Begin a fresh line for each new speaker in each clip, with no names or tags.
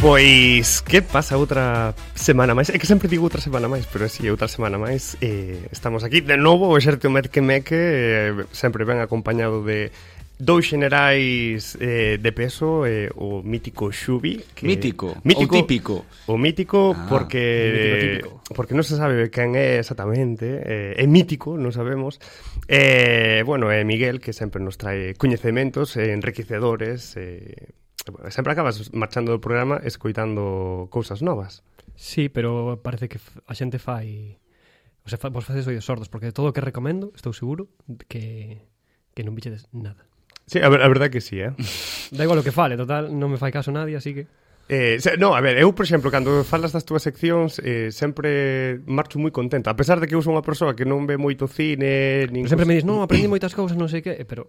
Pois que pasa outra semana máis? É que sempre digo outra semana máis, pero si sí, outra semana máis eh, estamos aquí de novo, o xerte o Merque Meque eh, sempre ben acompañado de dous xenerais eh, de peso, eh, o mítico Xubi,
que mítico, mítico ou típico.
O mítico ah, porque mítico, típico. porque non se sabe quen é exactamente, eh, é mítico, non sabemos. Eh, bueno, é Miguel que sempre nos trae coñecementos eh, enriquecedores, eh, sempre acabas marchando do programa escoitando cousas novas.
Sí, pero parece que a xente fai... O sea, vos facedes oídos sordos, porque todo o que recomendo, estou seguro, que, que non bichedes nada.
Sí, a, ver, a verdad que sí, eh?
da igual o que fale, total, non me fai caso nadie, así que...
Eh, se, no, a ver, eu, por exemplo, cando falas das túas seccións eh, sempre marcho moi contenta A pesar de que eu sou unha persoa que non ve moito cine
nin Sempre me dis, non, aprendi moitas cousas, non sei que eh, Pero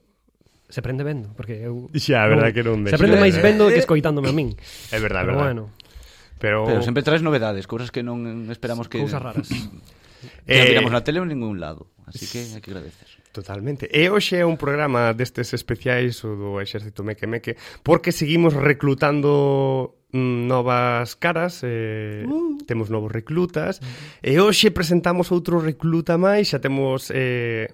se aprende vendo, porque eu
Xa, a verdade que non eh.
me. Se aprende máis vendo que escoitándome a min.
É verdade, verdade.
Bueno.
Pero
Pero sempre traes novedades, cousas que non esperamos que
cousas raras.
Que eh... miramos na tele en ningún lado, así que hai que agradecer.
Totalmente. E hoxe é un programa destes especiais o do Exército Meque Meque porque seguimos reclutando mm, novas caras, eh, uh. temos novos reclutas, uh -huh. e hoxe presentamos outro recluta máis, xa temos eh,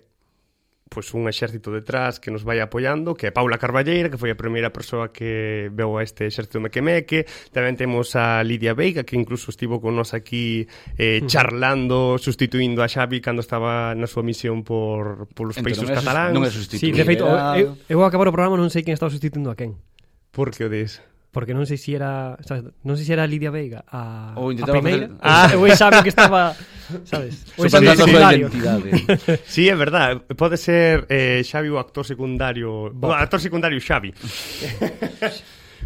pois un exército detrás que nos vai apoiando, que é Paula Carballeira, que foi a primeira persoa que veu a este exército mequemeque. Tamén temos a Lidia Veiga, que incluso estivo con nós aquí eh, charlando, sustituindo a Xavi cando estaba na súa misión por, por os países
Entón, non
cataláns.
Non é sustituir.
Sí, de feito, eu, eu acabar o programa non sei quen estaba sustituindo a quen.
Por que o dis?
porque non sei se si era, sabes, non sei se si era Lidia Veiga a
Ou
a
intentaba
primeira,
facer-
ah. o exame que estaba, sabes? O
Supantando a
exame
súa
secundario.
identidade.
Sí, é verdad. Pode ser eh, Xavi o actor secundario... O
Bo.
actor secundario Xavi.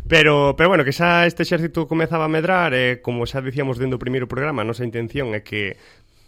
Pero, pero bueno, que xa este exército comezaba a medrar, eh, como xa dicíamos dentro do primeiro programa, a nosa intención é que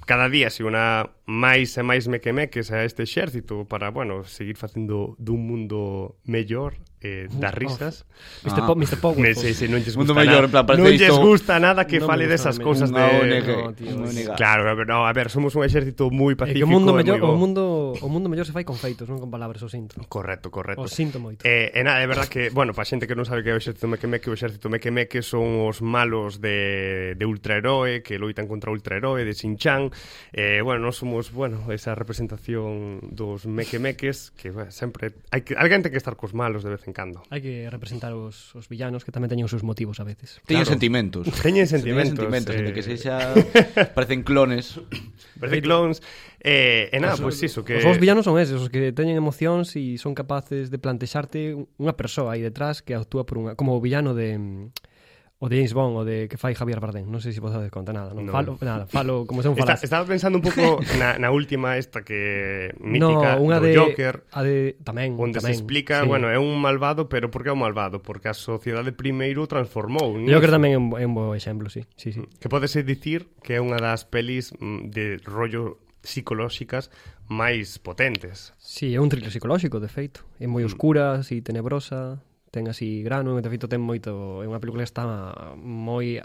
cada día se una máis e máis mequemeques a este exército para, bueno, seguir facendo dun mundo mellor eh, das risas.
Mr.
Ah.
Po, Mr. Power. Eh,
Me, se, se, non lles
Mundo
gusta
mellor, en
nada,
plan, parece
non lles
isto-
gusta nada que
Non me
fale
gusta
desas
nada,
cousas de...
Unha ONG,
No, tío,
unha ONG.
Claro, a ver, no, a ver, somos un exército moi
Eh,
pacífico
que o mundo
e moi
mellor,
bo.
o mundo o mundo mellor se fai con feitos, non con palabras, o sinto.
Correcto, correcto.
O sinto moito.
Eh, e nada, é verdad que, bueno, para xente que non sabe que é o exército mequemeque, o exército mequemeque son os malos de, de ultraheroe, que loitan contra o ultraheroe, de Sinchan. Eh, bueno, non somos, bueno, esa representación dos mequemeques, que bueno, sempre... Hai que, alguén ten que estar cos malos de vez en cando.
Hai que representar os, os villanos que tamén teñen os seus motivos a veces.
Teñen
Claro.
sentimentos.
Teñen
Teñen
sentimentos.
sentimentos,
eh,
eh... que sexa parecen clones.
Parece clones. Eh, e nada,
Os-
pois pues iso, que...
Os vos villanos son eses, os que teñen emocións e son capaces de plantexarte unha persoa aí detrás que actúa por unha... Como o villano de... mm, O de James Bond, o de que fai Javier Bardem. Non sei se vos dades conta, nada. Non,
No.
no. falo, nada, falo como se un
Está,
falaz.
estaba pensando un pouco na, na última esta que mítica
no, unha
do
de
Joker.
a de tamén,
Onde se
Mm, tamén.
explica, sí. bueno, é un malvado, pero por que é un malvado? Porque a sociedade primeiro o transformou.
Yo creo que
niso.
tamén é un, bo- é un bo exemplo, sí. sí, sí.
Que podese dicir que é unha das pelis mm, de rollo psicolóxicas máis potentes.
Sí, é un thriller psicolóxico, de feito. É moi oscura, así tenebrosa, ten así grano, e de feito ten moito, é unha película que está moi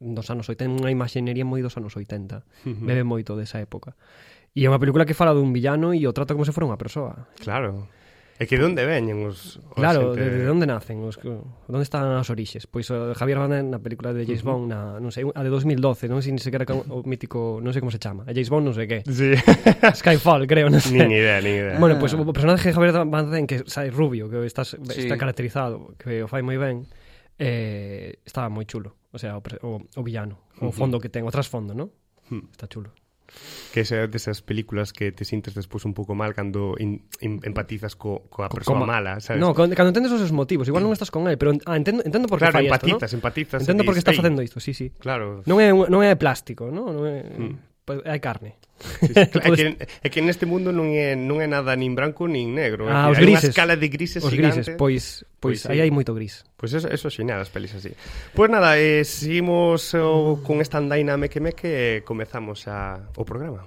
dos anos 80, ten unha imaxinería moi dos anos 80. Bebe moito desa época. E é unha película que fala dun villano e o trata como se fora unha persoa.
Claro. E que de onde veñen os... os
Claro,
xente-
de, de onde nacen? Os, que- onde están as orixes? Pois o Javier Bardem na película de James Bond, na, non sei, a de 2012, non sei ni sequera como- o mítico, non sei como se chama, a James Bond non sei que.
Sí.
Skyfall, creo, non sei.
nin idea, nin idea.
Bueno, pois pues, o personaje de Javier Bardem que sai rubio, que está, sí.
Sí.
está caracterizado, que o fai moi ben, eh, está moi chulo, o sea, o, pre- o, o villano, o fondo que ten, o trasfondo, ¿no?
Hmm.
Está chulo.
Que é desas películas que te sintes despois un pouco mal cando in, in, empatizas co, coa persoa
Como-
mala, sabes?
No, con- cando entendes os seus motivos, igual non estás con el, pero ah, entendo, entendo por que
Claro,
fai
empatizas,
esto, ¿no?
empatizas,
Entendo
e
por que está
dis, "Ei".
facendo isto, sí, sí.
Claro.
Non é un- non é plástico, ¿no? Non é
Hmm.
pues, hai carne.
Sí, sí, claro, é,
Podes-
que, é que neste mundo non é, non é nada nin branco nin negro.
Ah,
é que
os
hai Unha
grises.
escala de grises
Os
gigante.
grises, pues, pois pois,
Pois sí.
aí hai moito gris.
Pois eso, eso xeña das pelis así. Pois nada, eh, seguimos oh, con esta andaina meque meque e comezamos a, o programa.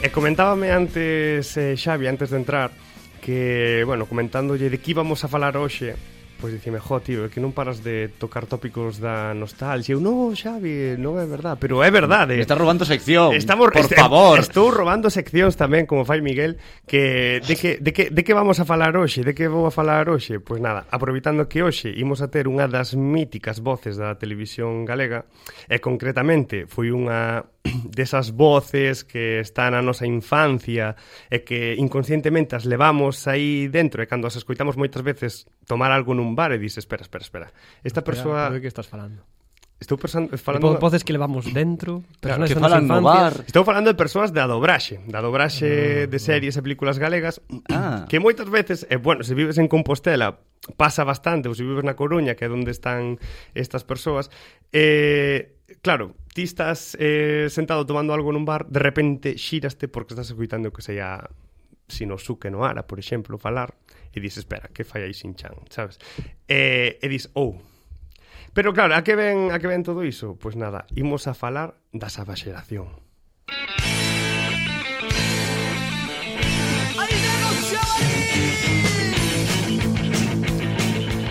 E Eh, comentábame antes, eh, Xavi, antes de entrar, que, bueno, comentándolle de que íbamos a falar hoxe, pois dicime, jo, tío, é que non paras de tocar tópicos da nostalgia. Eu, no, Xavi, non é verdad, pero é verdade.
Me estás robando sección.
Estamos,
Oh, por
este-
favor.
Estou robando seccións tamén, como fai Miguel, que de que, de que, de que vamos a falar hoxe? De que vou a falar hoxe? Pois nada, aproveitando que hoxe imos a ter unha das míticas voces da televisión galega, e concretamente foi unha desas voces que están na nosa infancia e que inconscientemente as levamos aí dentro e cando as escoitamos moitas veces tomar algo nun bar e dices, espera, espera, espera. Esta persoa...
De que estás falando?
Estou persan-
Falando...
falando...
De voces que levamos dentro, personas
que
da nosa
falan no
infancia.
bar.
Estou falando de persoas da dobraxe, da dobraxe de series e películas galegas,
Ah.
que moitas veces, e bueno, se vives en Compostela, pasa bastante, ou se vives na Coruña, que é onde están estas persoas, eh, claro, ti estás eh, sentado tomando algo nun bar, de repente xíraste porque estás escuitando que sei a Shinosuke Noara, por exemplo, falar, e dices, espera, que fai aí Shin-chan, sabes? Eh, e dis, oh, Pero claro, a que ven, a que ven todo iso? Pois nada, imos a falar da xeración.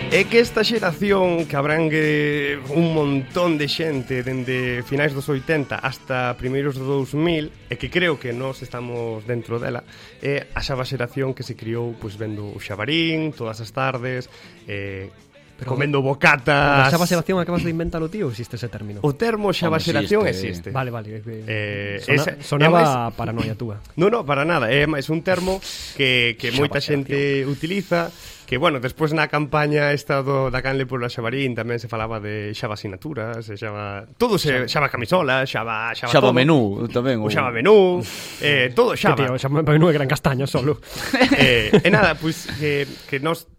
É que esta xeración que abrangue un montón de xente dende finais dos 80 hasta primeiros dos 2000 e que creo que nós estamos dentro dela é a xaba xeración que se criou pois vendo o xabarín todas as tardes eh,
Pero-
comendo
Ah,
bocatas
A Xaba Sebastián acabas de inventar o tío, existe ese término.
O Ah, termo
Hombre,
xabaxeración existe.
existe.
Vale, vale.
Eh,
Eh, sona,
esa-
sonaba
é máis-
paranoia túa.
No, no, para nada. É máis un termo que, que moita xente utiliza que, bueno, despois na campaña esta do, da Canle pola Xabarín tamén se falaba de xaba sinaturas, e xaba... Todo se... Xaba camisola, xaba... Xaba,
Xaba
todo.
menú tamén.
O xaba menú. Eh, todo
Que
xaba.
tío, Xaba non é gran castaña solo.
eh, e nada, pois que, que nos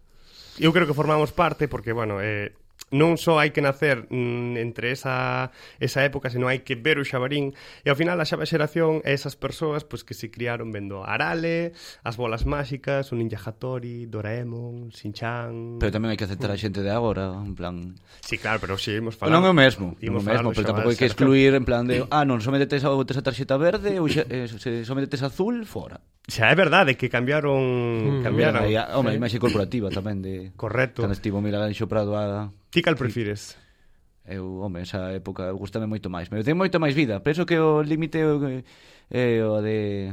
eu creo que formamos parte porque bueno, eh, non só hai que nacer mm, entre esa, esa época, senón hai que ver o xabarín e ao final a xaba xeración é esas persoas pois, que se criaron vendo Arale, as bolas máxicas, o Ninja Hattori, Doraemon, Shinchan...
Pero tamén hai que aceptar a xente de agora, en plan...
Sí, claro, pero si imos falar...
Falamos. Non é o mesmo, non é
Imos
o
falar
mesmo,
do
pero
xaba
tampouco hai que
xeración.
excluir en plan de, ah, non, somente tes a, tes a tarxeta verde ou xa, eh, se somente tes azul, fora.
Xa é verdade que cambiaron... Mm, cambiaron.
Aí, a- Home, a imaxe corporativa tamén de...
Correcto.
Cando estivo Milaganxo Prado a
Ti cal prefires?
Eu, home, esa época gustame moito máis. Me ten moito máis vida. Penso que o límite é o que- é o de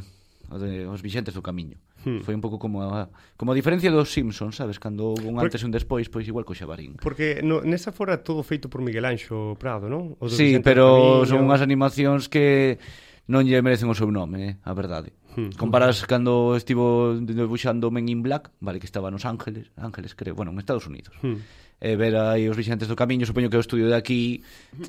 o de os vixentes do camiño. Hmm. Foi un pouco como a, como a diferencia dos Simpsons, sabes, cando houve un
Por-
antes e un despois, pois igual co Xabarín.
Porque no, nesa fora todo feito por Miguel Anxo Prado, non? O do
Sí,
Vicente
pero
Calviño.
son unhas animacións que non lle merecen o seu nome, eh, a verdade. Hmm. Comparas cando estivo debuxando Men in Black, vale, que estaba nos Ángeles, Ángeles, creo, bueno, en Estados Unidos. Hmm. E ver aí os vixentes do camiño, supoño que o estudio de aquí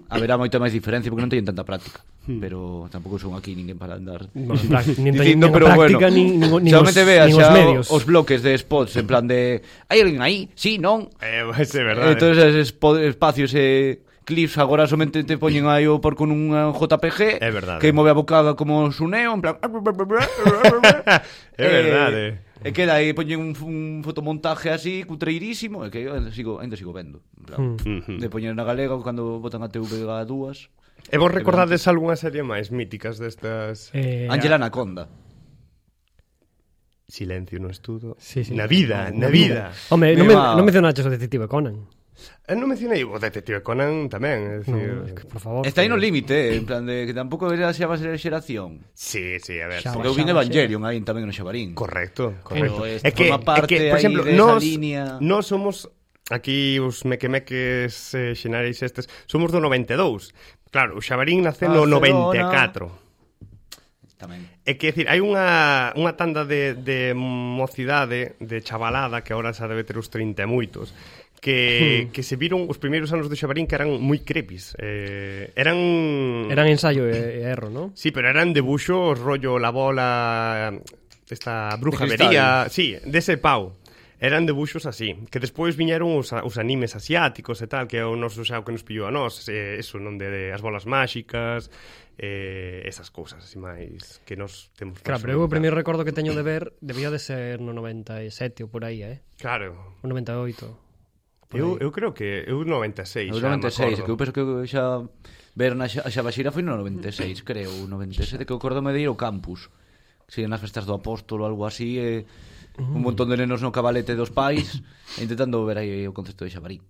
haberá moita máis diferencia porque non teñen tanta práctica. Hmm. Pero tampouco son aquí ninguén para andar
Bueno, en plan, nin teñen
Dicindo,
nin
pero bueno,
práctica, nin, nin, nin, os,
solamente veas
nin
xa
os
o-
medios.
os bloques de spots en plan de hai alguén aí, sí, non,
Eh, pois é verdade.
Entonces esos espo- espacios e clips agora somente te poñen aí o ah, por con un JPG
É verdade.
que move a bocada como suneo en plan
É verdade.
eh, E queda aí poñen un, un fotomontaje así cutreirísimo e que eu ainda sigo ainda sigo vendo. En plan,
Hmm.
de poñer na galega cando botan a TVA dúas.
E vos recordades algunha serie máis míticas destas?
Eh,
Ángela Anaconda.
Silencio no estudo.
Sí, sí.
Na vida, na vida.
Home,
Me
non, me,
va.
non mencionaches o detective Conan.
Eh, non mencionei o Detective Conan tamén, é
No,
dicir...
es que, por favor.
Está aí no límite, eh, en plan de que tampouco era xa va ser xeración.
Sí, sí, a ver. sí.
Xa,
Porque eu vin
Ah, Xa, xa.
Evangelion aí tamén no Xabarín.
Correcto, correcto.
Pero esta forma parte aí de esa
nós,
línea.
nós somos aquí os mequemeques eh, xenareis estes, somos do 92. Claro, o Xabarín nace no
Barcelona.
94.
Tamén.
É que decir, hai unha, unha tanda de, de mocidade, de chavalada, que ahora xa debe ter os 30 e moitos,
Hmm.
que, que se viron os primeiros anos do Xabarín que eran moi crepis. Eh, eran...
Eran ensayo e, e erro, ¿no?
Sí, pero eran debuxos, rollo, la bola, esta bruja
De cristal.
vería... Sí, dese pau. Eran debuxos así, que despois viñeron os, a- os animes asiáticos e tal, que é o noso xa o que nos pillou a nós, eh, eso, non de, de as bolas máxicas, eh, esas cousas así máis que nos temos
Claro, pero eu o primeiro recordo que teño de ver debía de ser no 97 ou por aí, eh?
Claro.
O 98. Por
Eu,
aí.
eu creo que eu 96,
Eu
xa, me
96, que
acordo.
eu penso que eu xa ver na xa, a Xabaxira foi no 96, creo, ou 97, que eu acordome de ir ao campus. siguen nas festas do apóstolo algo así e un montón de nenos no cabalete dos pais e intentando ver aí o concepto de xabarín.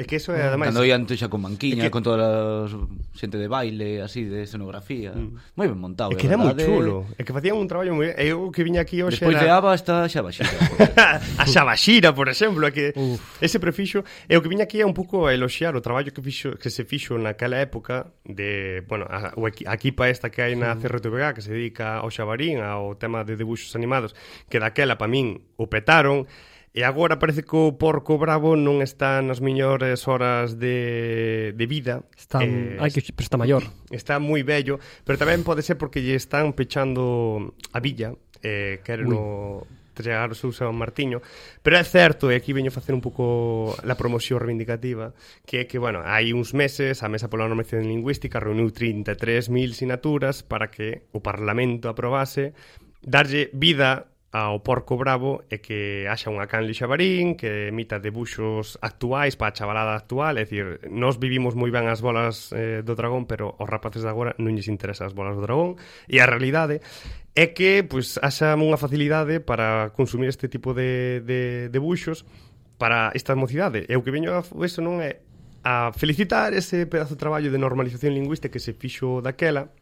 É que eso é, ademais...
Cando ian xa con
É
manquiña,
que-
con toda a xente de baile, así, de escenografía. Moi ben
Mm. É
montado. é
que era moi
verdade.
chulo, é que facían un traballo moi... Eu que viña aquí hoxe
eh, Despois de
era...
Ava está xa baixita.
a Xabaxira, por exemplo, é que ese prefixo é o que viña aquí é un pouco a eloxiar o traballo que fixo que se fixo naquela época de, bueno, a, o equi- a equipa esta que hai na CRTVG que se dedica ao Xabarín, ao tema de debuxos animados, que daquela pa min o petaron. E agora parece que o Porco Bravo non está nas miñores horas de, de vida.
Está,
Eh,
hai que pero está maior.
está moi bello, pero tamén pode ser porque lle están pechando a villa, eh, queren o chegar o seu San Martiño, pero é certo, e aquí veño facer un pouco la promoción reivindicativa, que é que, bueno, hai uns meses a Mesa pola Normación Lingüística reuniu 33.000 sinaturas para que o Parlamento aprobase darlle vida ao porco bravo e que haxa unha canle xabarín que emita debuxos actuais para a chavalada actual, é dicir, nós vivimos moi ben as bolas eh, do dragón, pero aos rapaces de agora non lles interesa as bolas do dragón e a realidade é que pois haxa unha facilidade para consumir este tipo de, de debuxos para esta mocidade. E o que veño a f- eso non é a felicitar ese pedazo de traballo de normalización lingüística que se fixo daquela,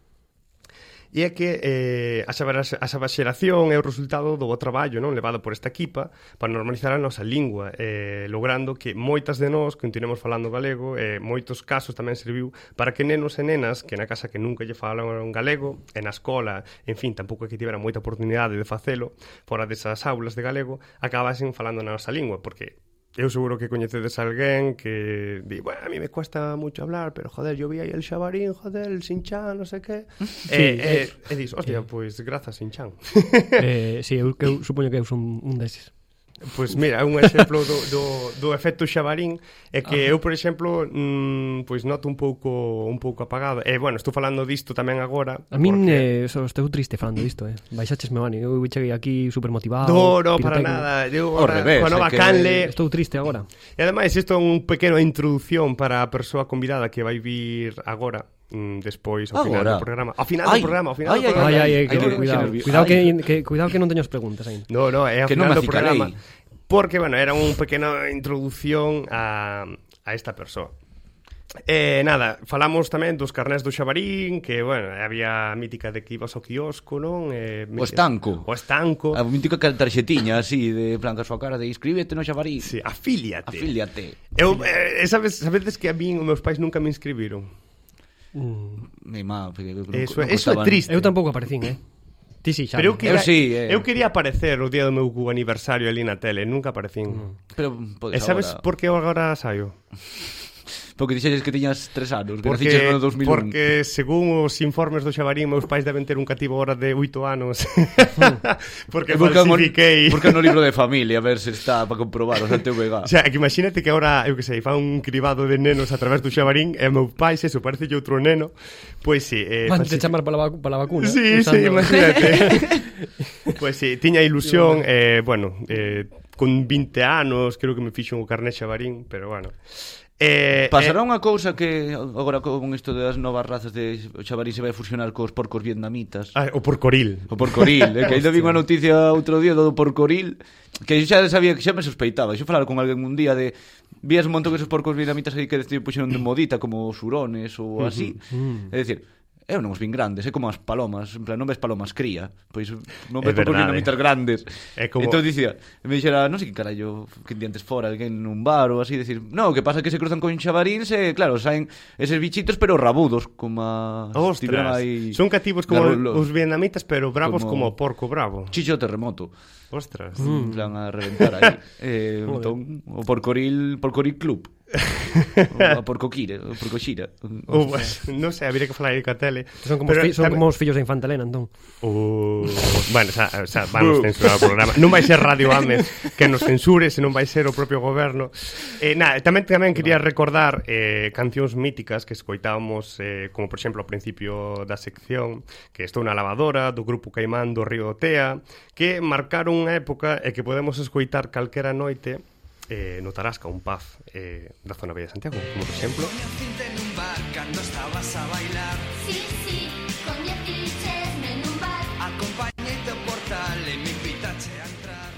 E é que eh, a, xabara- a xabaxeración é o resultado do bo traballo non levado por esta equipa para normalizar a nosa lingua, eh, logrando que moitas de nós continuemos falando galego, e eh, moitos casos tamén serviu para que nenos e nenas que na casa que nunca lle falaron galego, e na escola, en fin, tampouco é que tiveran moita oportunidade de facelo fora desas aulas de galego, acabasen falando na nosa lingua, porque Eu seguro que coñecedes a alguén que di, bueno, a mí me cuesta mucho hablar, pero joder, yo vi aí el xabarín, joder, el sinchán, no sé qué. Sí, eh, eh, e dis, hostia, pois pues, grazas sinchán.
eh, si, sí, eu, que eu supoño que eu son un deses.
Pois mira, é un exemplo do, do, do efecto xabarín é que eu, por exemplo, mm, pois noto un pouco un pouco apagado. E bueno, estou falando disto tamén agora.
A min
porque-
eh, so, estou triste falando disto, eh. Baixaches me bani, eu cheguei aquí super motivado.
No, no, para
pirotécnico.
nada. Eu,
Ao
ahora,
revés,
coa nova
é que-
canle...
Eh, Estou triste agora.
E ademais, isto é un pequeno introdución para a persoa convidada que vai vir agora, mm, despois, ao final
Agora.
do programa. Ao final
Ai,
do programa, ao final
ai,
do programa.
Ai, ai, ai,
Hay
que,
que-
cuidado.
que nervio-
cuidado, que,
Ay.
que, cuidado que non teño as preguntas aínda.
No, no, é ao
Que
final
non me
do programa.
acicalei.
Porque, bueno, era un pequeno introdución a, a esta persoa. Eh, nada, falamos tamén dos carnés do Xabarín, que, bueno, había a mítica de que ibas ao quiosco, non? Eh,
O estanco.
O estanco.
A mítica tarxetiña así de en plan coa súa cara de inscríbete no xabarín.
Sí, afíliate.
Afíliate.
Eu, eh, sabes, sabedes que a min os meus pais nunca me inscribiron. Mm.
Mi má, porque non-
Eso,
non
é- eso é
costaban-
triste.
Eu tampouco aparecín, eh. Ti si, xa.
Pero eu quería,
Eu sí, eh.
eu quería aparecer o día do meu aniversario ali na tele, nunca aparecín.
Pero
e
podes
sabes
agora.
por que eu agora saio?
Porque dixeres que tiñas tres anos, que naciches
Porque,
no 2001.
porque según os informes do Xabarín, meus pais deben ter un cativo hora de 8 anos. porque
Busca no-
falsifiquei.
Busca no libro de familia, a ver se está para comprobar o Santiago Vega.
O sea, que imagínate que ahora, eu que sei, fa un cribado de nenos a través do Xabarín e o meu pai, se eso, parece outro neno, pois si, eh,
Vanche
falsifi-
chamar para la, vacu- para la vacuna.
Sí, sí,
usando-
imagínate. pois si, tiña ilusión, eh, bueno, eh, con 20 anos creo que me fixo un carné xabarín, pero bueno. Eh,
Pasará unha cousa que agora con isto das novas razas de xabarín se vai fusionar cos porcos vietnamitas.
eh, ah, o porcoril.
O porcoril, eh, que ainda vi unha noticia outro día do porcoril Que eu xa sabía, que xa me suspeitaba Xo falar con alguén un día de Vías un montón que esos porcos vietnamitas aí que decidiu puxeron de modita Como os hurones ou así É dicir, eu non os vin grandes, é como as palomas En plan, non ves palomas cría Pois non
É
ves porcos
verdade.
vietnamitas grandes
É como-
Entón dicía, me dixera, non sei que carallo Que diantes fora, alguén nun bar ou así Dicir, non, o que pasa é que se cruzan con xabaríns E claro, saen eses bichitos pero rabudos Como a...
Ostras, son cativos como os
os
vietnamitas, pero bravos como, o
como-
porco bravo.
Chicho Terremoto
Ostras.
En plan a reventar aí eh, entón, O Porcoril, Porcoril Club O- A Porcoquira O Porcoxira
Ou, non sei, habría que falar aí coa tele.
Son como, os,
Pero
fi, son
tamén-
como os fillos de Infantelena, entón.
Uh, bueno, xa, xa vamos censurar o programa. Non vai ser Radio Ames que nos censure, se non vai ser o propio goberno. Eh, na, tamén tamén quería recordar eh, cancións míticas que escoitábamos, eh, como por exemplo ao principio da sección, que estou na lavadora, do grupo Caimán do Río Tea, que marcaron unha época e que podemos escoitar calquera noite eh, no Tarasca, un pub eh, da zona Bella de Santiago, como por exemplo.
Sí, sí, con 10 tiches en un bar.
Acompañé y te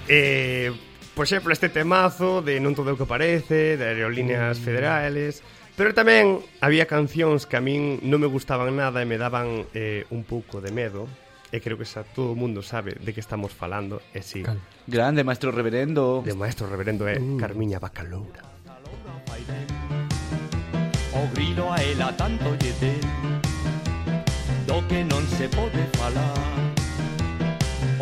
Eh, por exemplo, este temazo de Non todo o que parece, de Aerolíneas
Mm.
Federales, pero tamén había cancións que a min non me gustaban nada e me daban eh, un pouco de medo, e creo que xa todo o mundo sabe de que estamos falando, e si,
Cal. Uh.
Grande, maestro reverendo.
de maestro reverendo é Carmiña Bacaloura.
Caloura fai ben O grido a ela tanto lle ten Do que non se pode falar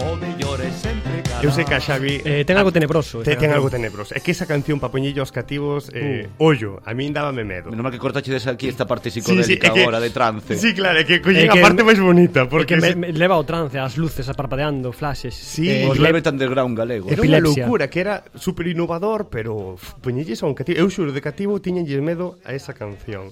O mellor é sempre calar
Eu sei que a Xavi
Eh, ten algo Uh. tenebroso.
te,
esa
ten
canción.
algo tenebroso. É que esa canción pa poñillo aos cativos, eh, ollo, a min dábame medo.
Menos mal que cortaches aquí esta parte psicodélica
é que-
agora de trance.
Sí, claro, é que coñen
É
a
que-
parte máis bonita,
Porque
porque
me,
se-
me leva ao trance, as luces a parpadeando, flashes.
Sí,
eh,
Os
le-
Velvet Underground galego.
Era unha
Epilepsia.
loucura, que era super innovador, pero uf, poñelles a un cativo. Eu xuro, de cativo tiñenlle medo a esa canción.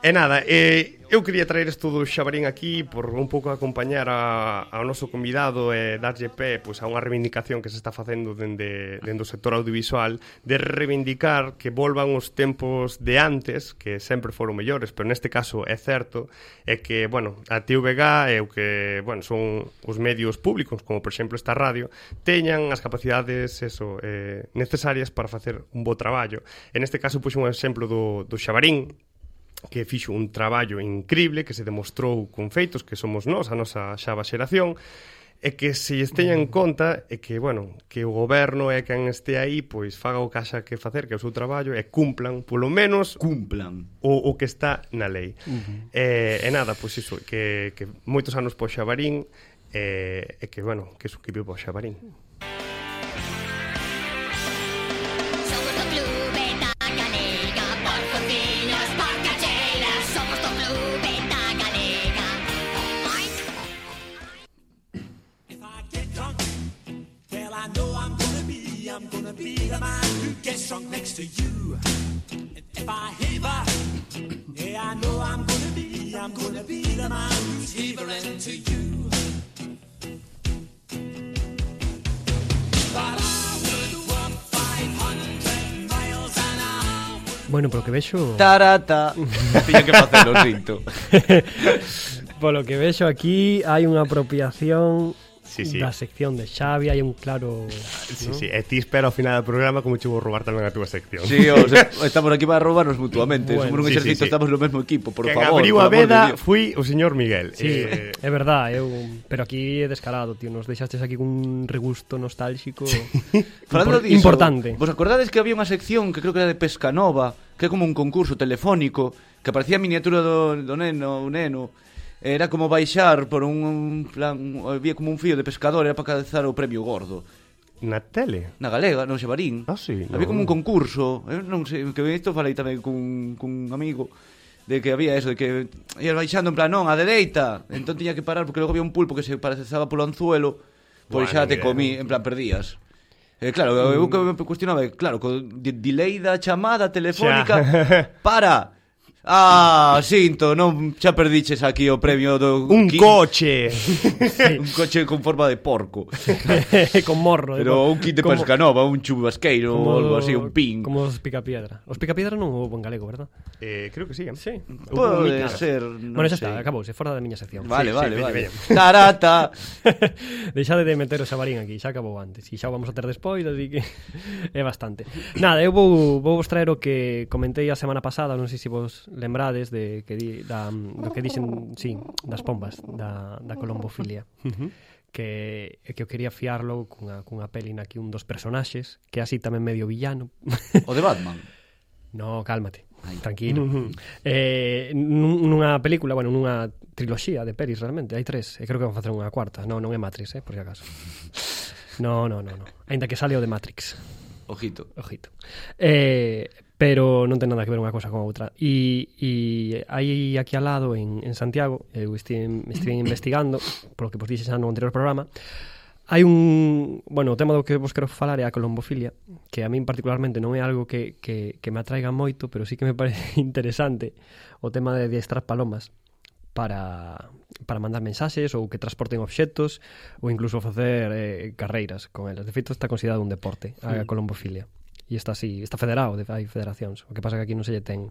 E nada, eh, eu quería traer isto do Xabarín aquí por un pouco acompañar a, ao noso convidado e darlle pé pois, a unha reivindicación que se está facendo dende, dende o sector audiovisual de reivindicar que volvan os tempos de antes, que sempre foron mellores, pero neste caso é certo, é que, bueno, a TVG é o que, bueno, son os medios públicos, como por exemplo esta radio, teñan as capacidades eso, eh, necesarias para facer un bo traballo. En este caso, puxo un exemplo do, do Xabarín, que fixo un traballo incrible que se demostrou con feitos que somos nós, a nosa xava xeración, e que se lles teña en conta é que, bueno, que o goberno é quen este aí, pois faga o que haxa que facer, que é o seu traballo, e cumplan, polo menos,
Cumplan.
o, o que está na lei. Uh -huh. eh, e nada, pois iso, que, que moitos anos po Xabarín, eh, e que, bueno, que suquipiu po Xabarín.
Somos do Clube da Galega, porcocinos, porcacheiras. Somos do Clube da Galega.
Well, I know I'm gonna be, I'm gonna be the man who gets drunk next to you. And if I heaver, yeah, I know I'm gonna be, I'm gonna be the man who's heavering to you.
Bueno, polo que vexo...
Tarata. Tiña que facelo, sinto.
Polo que vexo aquí hai unha apropiación
Sí, sí.
da sección de Xavi, hai un claro...
Sí, sí, e ti espera ao final do programa como che vou roubar tamén a túa sección.
Sí, os, estamos aquí para robarnos mutuamente.
Bueno.
Somos un
Sí, sí,
exercito,
sí.
estamos no mesmo equipo, por
Quen
favor.
abriu
por
a
amor de
veda
Dios.
foi o señor Miguel.
Sí,
Eh,
é verdad, eu, pero aquí é descarado, tío, nos deixastes aquí cun regusto nostálxico
Falando
impor-
diso,
importante.
Vos acordades que había unha sección que creo que era de pesca nova Que é como un concurso telefónico Que aparecía a miniatura do, do neno, un neno Era como baixar por un, un plan un- Había como un fío de pescador Era para cazar o premio gordo
Na tele.
Na galega, no Xabarín
Ah, sí,
Había
no.
como un concurso eu Non sei, que isto falei tamén cun, cun amigo De que había eso, de que Ia baixando en plan, non, a dereita Entón tiña que parar porque logo había un pulpo que se paralizaba polo anzuelo Pois
Buah,
xa
ni
te
idea.
comí, en plan, perdías Eh, claro, eu que me cuestionaba, é, claro, co de- delay da chamada telefónica,
Xa.
para. Ah, sinto, non xa perdiches aquí o premio do
Un
quin-
coche.
un coche con forma de porco.
con morro. eh,
Pero
con-
un kit de
como-
pescanova, un chubasqueiro ou algo así, un pin.
Como os picapiedra. Os picapiedra non houve en galego, verdad?
eh, creo que sí. Sí.
Pode ser, non
bueno, xa
sei.
está, acabouse, fora da miña sección.
Vale,
Sí,
vale,
sí,
vale.
veña,
Tarata.
Deixade de meter o xabarín aquí, xa acabou antes E xa o vamos a ter despois, así que é bastante Nada, eu vou, vou vos traer o que comentei a semana pasada Non sei se vos lembrades de que di, da, do que dixen sí, das pombas Da, da colombofilia que, e que eu quería fiarlo cunha, cunha peli na que un dos personaxes Que é así tamén medio villano
O de Batman.
No, cálmate, tranquilo eh, nun- Nunha película, bueno, nunha triloxía de pelis realmente Hai tres, e creo que van facer unha cuarta Non, non é Matrix, eh, por si acaso No, no, no, no. Ainda que sale o de Matrix.
Ojito.
Ojito. Eh, pero non ten nada que ver unha cosa con a outra. E, e hai aquí al lado, en, en Santiago, eu estive, estive investigando, polo que vos dixen xa no anterior programa, hai un... Bueno, o tema do que vos quero falar é a colombofilia, que a min particularmente non é algo que, que, que me atraiga moito, pero sí que me parece interesante o tema de diestrar palomas para para mandar mensaxes ou que transporten obxectos
Mm.
ou incluso facer eh, carreiras con elas. De feito, está considerado un deporte, a colombofilia. E está así, está federado, de, hai federacións. O que pasa que aquí non se lle ten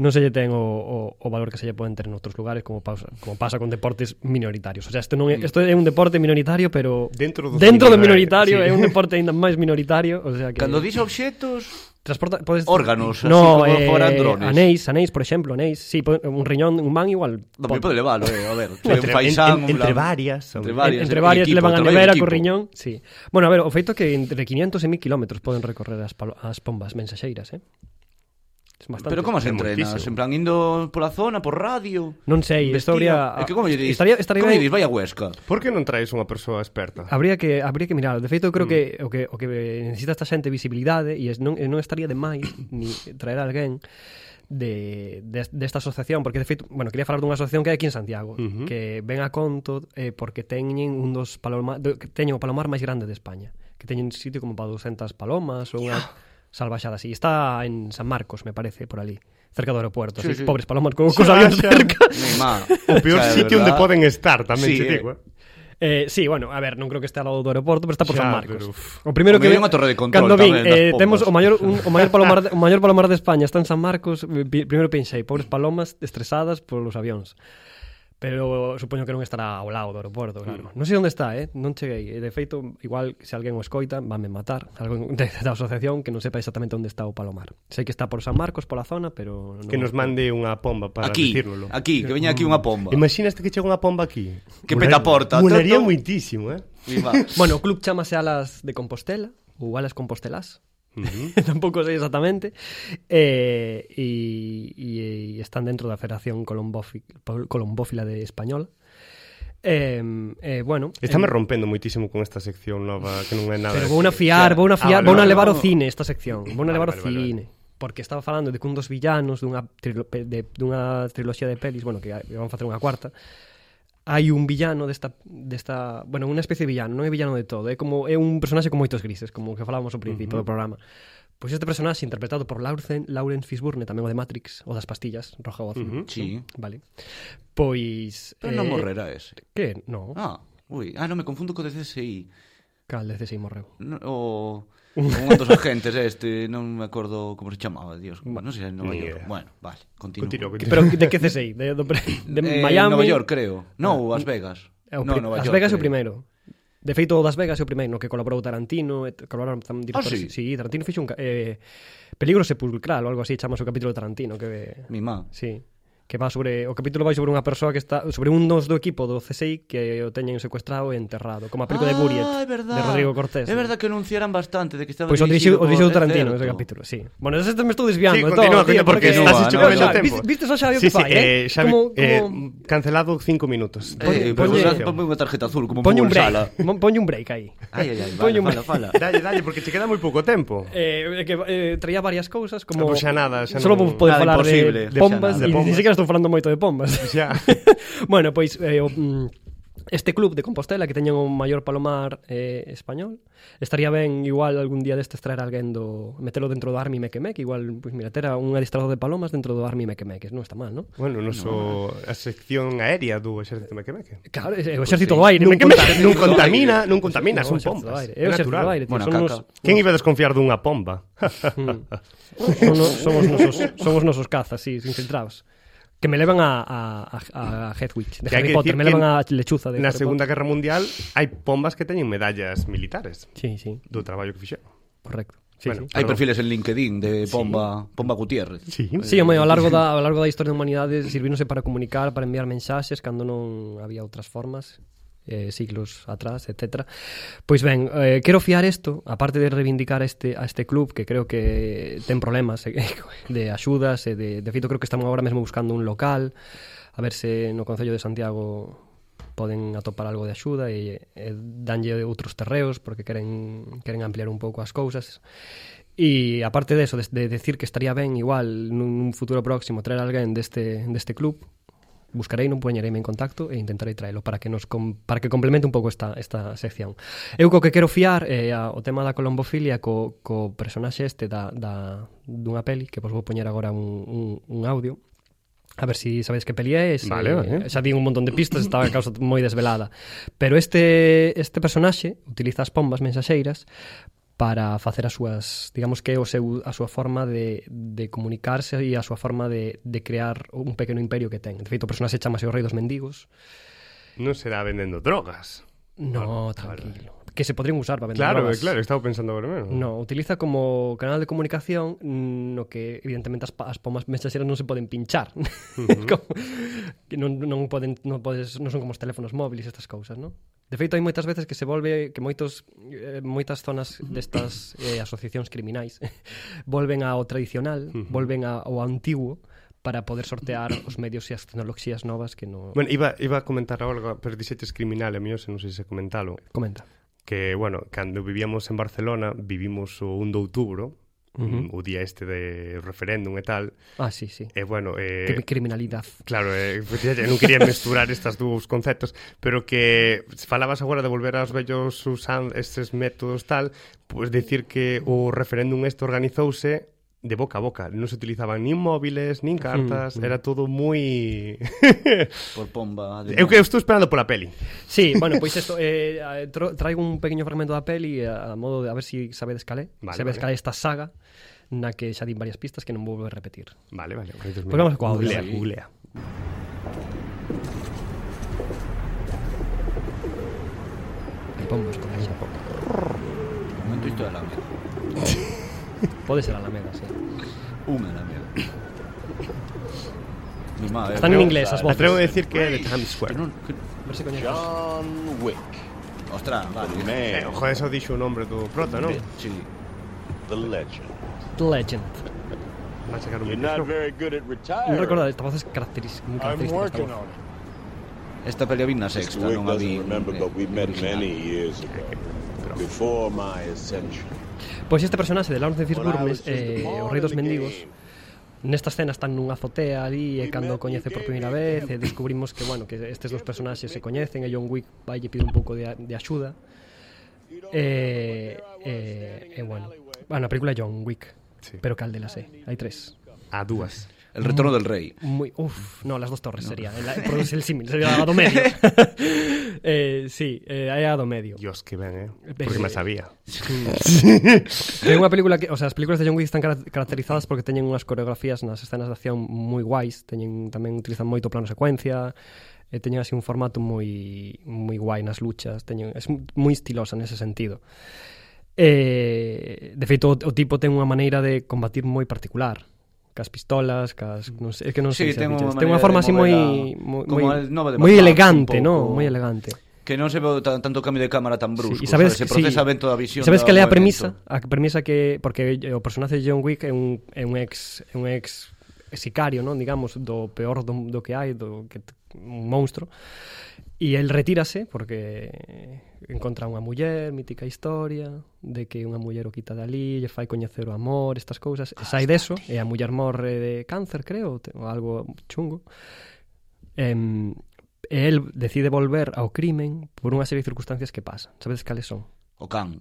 non se lle ten o, o, o valor que se lle poden ter noutros lugares como pasa, como pasa con deportes minoritarios. O sea, este non
Mm.
é, isto é un deporte minoritario, pero
Dentro do
dentro do
minoritario,
minoritario
sí.
é un deporte aínda máis minoritario, o sea que
Cando dis obxectos,
Transporta, podes...
Órganos, así
no,
como
eh,
foran drones.
Anéis, anéis, por exemplo, anéis. Sí, po- un riñón, un man igual.
non me
pon-
pode levalo, eh, a ver.
Entre-
un faisán,
en-
un
entre
blan-
varias,
Entre
en-
varias,
entre
en
varias
equipo,
levan a
traballo en
nevera
equipo.
co riñón. Sí. Bueno, a ver, o feito é que entre 500 e 1000 kilómetros poden recorrer as, palo- as pombas mensaxeiras, eh? Es bastante.
Pero como se
É
entrenas?
moitísimo.
En plan, indo pola zona, por radio?
Non sei, isto habría...
É que como lle dis?
Estaría, estaría
como lle
ben-
dis? Vai a Huesca.
Por que non traes unha persoa experta?
Habría que habría que mirar. De feito, eu creo que o que o que necesita esta xente é visibilidade e es, non, e non estaría de máis ni traer a alguén de, de, desta asociación, porque de feito, bueno, quería falar dunha asociación que hai aquí en Santiago,
Ujú.
que ven a conto eh, porque teñen un dos paloma, do, que teñen o palomar máis grande de España, que teñen un sitio como para 200 palomas ou unha salvaxada así. Está en San Marcos, me parece, por ali, cerca do aeropuerto,
Sí,
sí,
sí.
así, pobres palomas co,
Se
cos avións
vayan.
cerca.
Mi má.
O peor
O sea, de
sitio onde
verdad.
poden estar, tamén
Sí,
te
eh.
digo, eh.
Eh, sí, bueno, a ver, non creo que este ao lado do aeroporto, pero está por
Xa,
San Marcos.
pero, uf.
o
O
primeiro que
mellor é unha torre de control
Cando
tamén
vin,
das
eh,
pombas.
temos o maior un, o maior palomar, de- o maior palomar de España está en San Marcos, eh, pi- primeiro pensei, pobres palomas estresadas polos avións. Pero supoño que non estará ao lado do aeroporto,
Mm.
claro. Non sei onde está, eh? Non cheguei. E, De feito, igual, se alguén o escoita, vanme matar. Alguén de- da asociación que non sepa exactamente onde está o Palomar. Sei que está por San Marcos, pola zona, pero... Non
Que nos mande unha pomba para
Aquí,
decírnolo.
aquí, que veña aquí unha pomba.
Imaginaste que chega unha pomba aquí.
Que
Molaría-
petaporta.
Molaría
Toto.
moitísimo, eh.
Mi má.
Bueno, o club chamase Alas de Compostela ou Alas Compostelás. Tampouco sei exactamente eh, e, e, e están dentro da Federación Colombófi- Pol- Colombófila de Española eh, eh, bueno
Estáme
eh,
rompendo moitísimo con esta sección nova que non é nada.
pero
de
vou a
ciencia.
fiar vou
Ah,
a fiar
vale,
vou a
vale,
levar
vale.
o cine esta sección vou a
Vale,
levar o
vale, vale,
cine porque estaba falando de que un dos villanos dunha, trilo, pe- de, dunha triloxía de pelis bueno, que hai- van facer unha cuarta hai un villano desta, desta bueno, unha especie de villano, non é villano de todo é como é un personaxe con moitos grises como o que falábamos ao principio uh -huh. do programa pois este personaxe interpretado por Lauren, Lauren Fishburne tamén o de Matrix, o das pastillas roja ou azul uh -huh.
Sí.
vale pois
Pero non morrerá ese.
que? no,
Ah,
ah.
ui. Ah, non, me confundo co de CSI.
cal, de CSI morreu
No, o un dos agentes este, non me acordo como se chamaba, Dios. Non sei, se en Nova
Ni
York.
idea.
Bueno, vale, continúo.
Continúa,
Eh,
continúa.
pero de que CSI? de, do- de, Miami
Nova York, creo. Non,
Ah,
Las Vegas.
É o
no,
pri-
Nova
eh, Las
York,
Vegas é o
creo.
primeiro. De feito, o das Vegas é o primeiro no que colaborou Tarantino, e t- colaboraron tam
Ah,
directores.
sí?
sí, Tarantino fixo un ca- eh, Peligro sepulcral ou algo así, chamase o capítulo de Tarantino que
Mi má.
Sí, que va sobre o capítulo vai sobre unha persoa que está sobre un dos do equipo do CSI que o teñen secuestrado e enterrado, como a película de Buriet
Ah, é verdad.
de Rodrigo Cortés. Pues
É verdad que anunciaran bastante de que estaba
Pois o
dirixido
dirixiu o
por-
dirixiu
é
Tarantino
certo.
ese capítulo, sí. Bueno, ese me estou desviando
Sí,
de
continúa,
todo,
continúa,
tío,
porque
porque-
estás
Nova,
hecho
Nova
comendo
York.
tempo.
Viste- viste só xa o que
Sí, sí,
fai, eh?
eh, Xavi,
Como-
eh,
como-
cancelado cinco minutos. Eh,
Eh, pero
ponlle-
ponme unha tarjeta azul como
Poñe
Poño
un
sala.
break, mon- poñe un break aí.
Ai, ai, ai,
Poñe
vale,
un
fala, fala.
break.
Dalle, dalle, porque te queda moi pouco tempo.
Eh, é que eh, traía varias cousas como
Pois xa nada, xa
Solo
non-
vou poder
Nada
falar
imposible,
de,
xa
pombas
nada.
De
e ni
pombas.
siquiera estou falando moito de pombas.
Xa.
bueno, pois eh, o, mm, este club de Compostela que teñen o maior palomar eh, español estaría ben igual algún día destes traer alguén do metelo dentro do Army Mequemeque, igual pois mira, ter a un adestrador de palomas dentro do Army Mequemeque, non está mal, non?
Bueno, non so a sección aérea do exército mequemeque.
Claro, é o exército
sí.
do aire,
Non, conta,
Eh, Mequemeque.
non contamina, non contamina,
No,
son
o exército do
pombas.
aire,
É
É o exército do
natural.
aire, tío,
Bueno,
son
caca.
unos,
Quen iba a desconfiar dunha pomba?
Son o- son os nosos, son os nosos cazas, sí, infiltrados. Que me levan a, a, a, a Hedwig, de
Que hai
Harry
que
Potter,
decir
me
que
levan a Lechuza de
Na
Harry
Segunda Guerra Mundial hai pombas que teñen medallas militares
Potter. Sí, sí,
do traballo que fixeron.
correcto. Sí,
Bueno,
sí.
Hai
Perdón.
perfiles en LinkedIn de Pomba, Pomba Gutiérrez.
Sí.
Sí, home, ao largo da ao largo da historia da humanidade sirvínose para comunicar, para enviar mensaxes cando non había outras formas eh, siglos atrás, etc. Pois ben, eh, quero fiar isto, aparte de reivindicar a este, a este club que creo que ten problemas eh, de axudas e de, de feito creo que estamos agora mesmo buscando un local a ver se no Concello de Santiago poden atopar algo de axuda e, e danlle outros terreos porque queren queren ampliar un pouco as cousas. E aparte de eso, de, de decir que estaría ben igual nun nun futuro próximo traer alguén deste deste club, buscarei, non poñereime en contacto e intentarei traelo para que nos com, para que complemente un pouco esta esta sección. Eu co que quero fiar é a, o tema da colombofilia co, co personaxe este da, da dunha peli que vos vou poñer agora un, un, un audio. A ver si sabéis que peli é, se-
Vale, vale.
xa di un montón de pistas, estaba a causa moi desvelada. Pero este este personaxe utiliza as pombas mensaxeiras para facer as súas, digamos que é o seu, a súa forma de, de comunicarse e a súa forma de, de crear un pequeno imperio que ten. De feito, o personaxe chamase o Rei dos Mendigos.
Non será vendendo drogas.
No, tranquilo. Que se podrían usar para vender
Claro,
drogas.
claro, estaba pensando agora mesmo.
No, utiliza como canal de comunicación mm, no que evidentemente as, pa- as pomas mensaxeras non se poden pinchar. como, que non, non poden non podes non son como os teléfonos móviles estas cousas, non? De feito hai moitas veces que se volve que moitos eh, moitas zonas destas eh, asociacións criminais volven ao tradicional, volven a- ao antigo para poder sortear os medios e as tecnoloxías novas que non
Bueno, iba, iba a comentar algo, pero dixetes criminal, a mí se non sei se comentalo.
comenta.
que, bueno, cando vivíamos en Barcelona, vivimos o 1 de outubro, uh -huh. o día este de referéndum e tal,
Ah, sí, sí.
e, bueno, eh,
Que criminalidade.
Claro, eh, efectivamente, non quería mesturar estas dous conceptos, pero que se falabas agora de volver aos vellos usan estes métodos tal, pois pues decir que o referéndum este organizouse de boca a boca, non se utilizaban nin móviles, nin cartas, era todo moi
Por pomba. de-
Eu que eu estou esperando pola peli.
Sí, bueno, pois isto eh, eh, tro- traigo un pequeño fragmento da peli eh, a modo de a ver si sabedes calé.
Vale,
Vale, sabedes
vale.
calé esta saga na que xa din varias pistas que non vou volver a repetir.
Vale, vale. Pois
Pois vamos coa
Googlea,
audio.
googlea.
Hai pombos por aí.
Momento isto da Alameda.
Pode ser Alameda, sí.
Unha Alameda. Ni má, eh,
Están en
creo-
inglés as voces.
Atrevo a decir que é de Times
Que
Square.
non- que-
A ver se coñeces.
John Wick,
Ostras, vale.
Eh,
man,
joder, eso dixo o nombre do prota, non?
Sí.
the legend.
The Legend.
Va a sacar un
You're
micro.
not very good at
Non
retiring.
recordar, esta voz é característica, moi
I'm
característica esta
working
voz.
on it.
Esta peli a vi na
Mr.
sexta,
Wick
non a vi.
doesn't remember,
eh,
but we met
original.
many years ago, before my ascension.
Pois este personaxe de Lawrence de
When I was
Fishburne
just
eh,
a
os
pawn
Rei
in
dos
the
Mendigos
game.
Nesta escena están nunha azotea ali e cando o coñece por primeira vez e descubrimos que, bueno, que estes dos personaxes se coñecen e John Wick vai lle pide un pouco de, a- de axuda e, e, e bueno, bueno, a película é John Wick
Sí.
pero cal de las é, hai tres
A dúas.
El retorno del rei.
Muy, uf, no, las dos torres sería el, produce el símil, sería a do medio eh, sí, eh, é a do medio
Dios, que ben, eh?
Ben,
Porque me
eh,
sabía.
É unha película que, o sea, as películas de John Wick están cara- caracterizadas porque teñen unhas coreografías nas escenas de acción moi guais, teñen tamén utilizan moito plano secuencia, e teñen así un formato moi moi guai nas luchas, teñen é moi estilosa nese sentido. Eh, de feito o, o tipo ten unha maneira de combatir moi particular, cas pistolas, cas non sei, é que non
Sí,
sei se
ten unha
bichas. ten unha
maneira
forma
de
así moi
mover a-
moi
como
moi-
a nova de
moi
Batman,
elegante,
un
non?
pouco.
Moi elegante.
Que non se ve tan- tanto cambio de cámara tan brusco.
Sí, e sabes,
sabe? Se
sí,
procesa ben toda a visión.
e Sabes
do
que lea a
movemento.
premisa, a premisa que porque eh, o personaxe de John Wick é un é un ex é un ex sicario, non, digamos, do peor do, do que hai, do que t- un monstro. E el retírase porque encontra unha muller, mítica historia, de que unha muller o quita dali, lle fai coñecer o amor, estas cousas. E sai deso, e a muller morre de cáncer, creo, te- ou algo chungo. Em, e el decide volver ao crimen por unha serie de circunstancias que pasan. Sabedes cales son?
O can.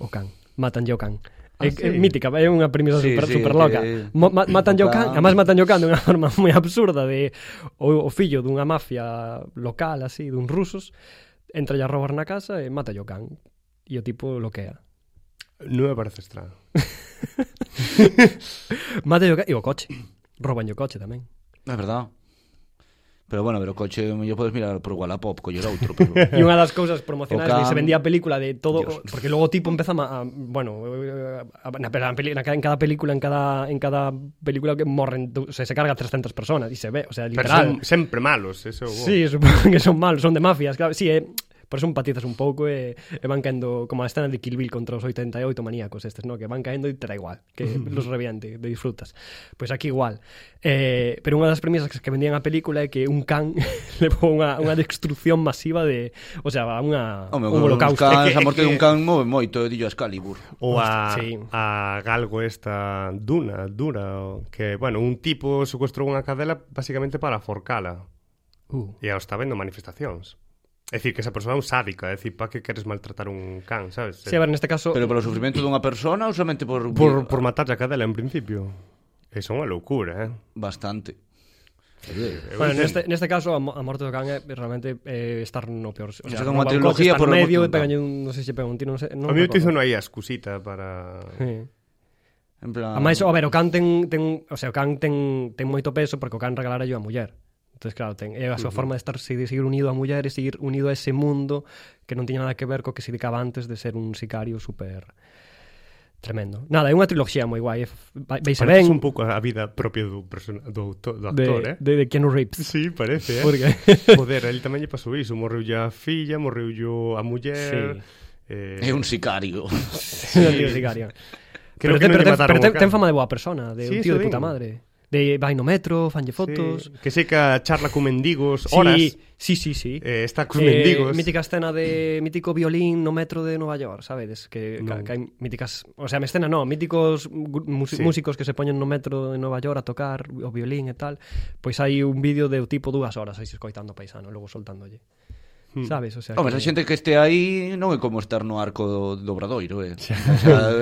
o can. Matanlle o can.
Ah,
É,
sí?
é mítica, é unha premisa
Sí,
sí, super,
sí,
sí, super loca.
que-
Mo, ma, matan o
Can.
can, además matan o can dunha forma moi absurda de o, o fillo dunha mafia local así, duns rusos, entra a roubar na casa e mata o can. E o tipo loquea.
Non me parece extraño.
Mata o can e o coche. Roban o coche tamén.
É verdad. Pero bueno, pero o coche mellor podes mirar por Wallapop, coller outro, pero
E unha das cousas
O
promocionais can...
can-
se vendía a película de todo,
Dios.
Dios. porque logo o tipo empeza a, a bueno, eh, a, na, na, peli- na, ca- en cada película, en cada en cada película que morren, du- o sea, se carga 300 personas e se ve, o sea,
Pero
literal.
son sempre malos, eso. bo.
Sí, supongo que son malos, son de mafias, claro, sí, eh, por eso empatizas un pouco e, e van caendo como a escena de Kill Bill contra os 88 maníacos estes, no? que van caendo e te da igual, que los reviante, te disfrutas. Pois pues aquí igual. Eh, pero unha das premisas que vendían a película é que un can levou unha, unha destrucción masiva de, o sea, unha,
Home,
un holocausto.
Can,
É que-
a morte
é que-
dun can move moito, dillo Excalibur.
O a,
Sí.
a galgo esta duna, dura, o que, bueno, un tipo secuestrou unha cadela basicamente para forcala.
Uh,
E ao está vendo manifestacións. É dicir, que esa persona é un sádica, é dicir, pa que queres maltratar un can, sabes?
sí, a ver, neste caso...
Pero polo sufrimento dunha persona ou somente por
por, por matar a cadela en principio. Eso é unha loucura, eh?
bastante.
Eu
Bueno,
entendo.
neste, neste este, caso a, mo- a morte do can é realmente eh, estar no peor, o sea,
sacan
no
unha
balcón,
trilogía
estar
por a
no
morte
medio
do
e
can.
pegalle un, non sei se pega un tiro, non sei,
a
non
mí
recordo.
utilizo non hai a excusita para...
Sí.
Ah,
En plan...
A máis, a ver, o can ten, ten, o sea, o can ten, ten moito peso porque o can regalara yo a muller. Entonces, claro, ten, é a súa forma de estar de seguir unido á muller e seguir unido a ese mundo que non tiña nada que ver co que se dedicaba antes de ser un sicario super tremendo. Nada, é unha triloxía moi guai, é f- vai- veise
Parece
ben
un pouco a vida propia do, persona, do, auto- do
de,
actor, eh?
de, de Keanu Reeves.
Sí, parece, eh?
Porque-
Joder, a él tamén lle pasou iso. Morreu a filla, morreu a muller...
Sí.
Eh,
É un sicario.
Sí. sicario.
Creo
pero
que
ten,
non
pero
lle
ten,
mataron o
pero ten,
can.
ten fama de boa persona, de
Sí,
un tío
eso
de puta
digo.
madre. De vai no metro, fanlle fotos.
Sí, que seca charla con mendigos horas.
Sí, sí, sí, sí.
Eh, está cos mendigos.
mítica escena de mítico violín no metro de Nova York, sabedes? Que,
Non.
ca- que hai míticas, o sea, me escena no, míticos gru- mus-
Sí.
músicos que se poñen no metro de Nova York a tocar o violín e tal. Pois hai un vídeo de o tipo dúas horas aí escoitando o paisano, logo soltándolle.
Hmm.
Sabes, o sea,
Hombre, a xente que este aí non é como estar no arco do, do Obradoiro, eh. O sea,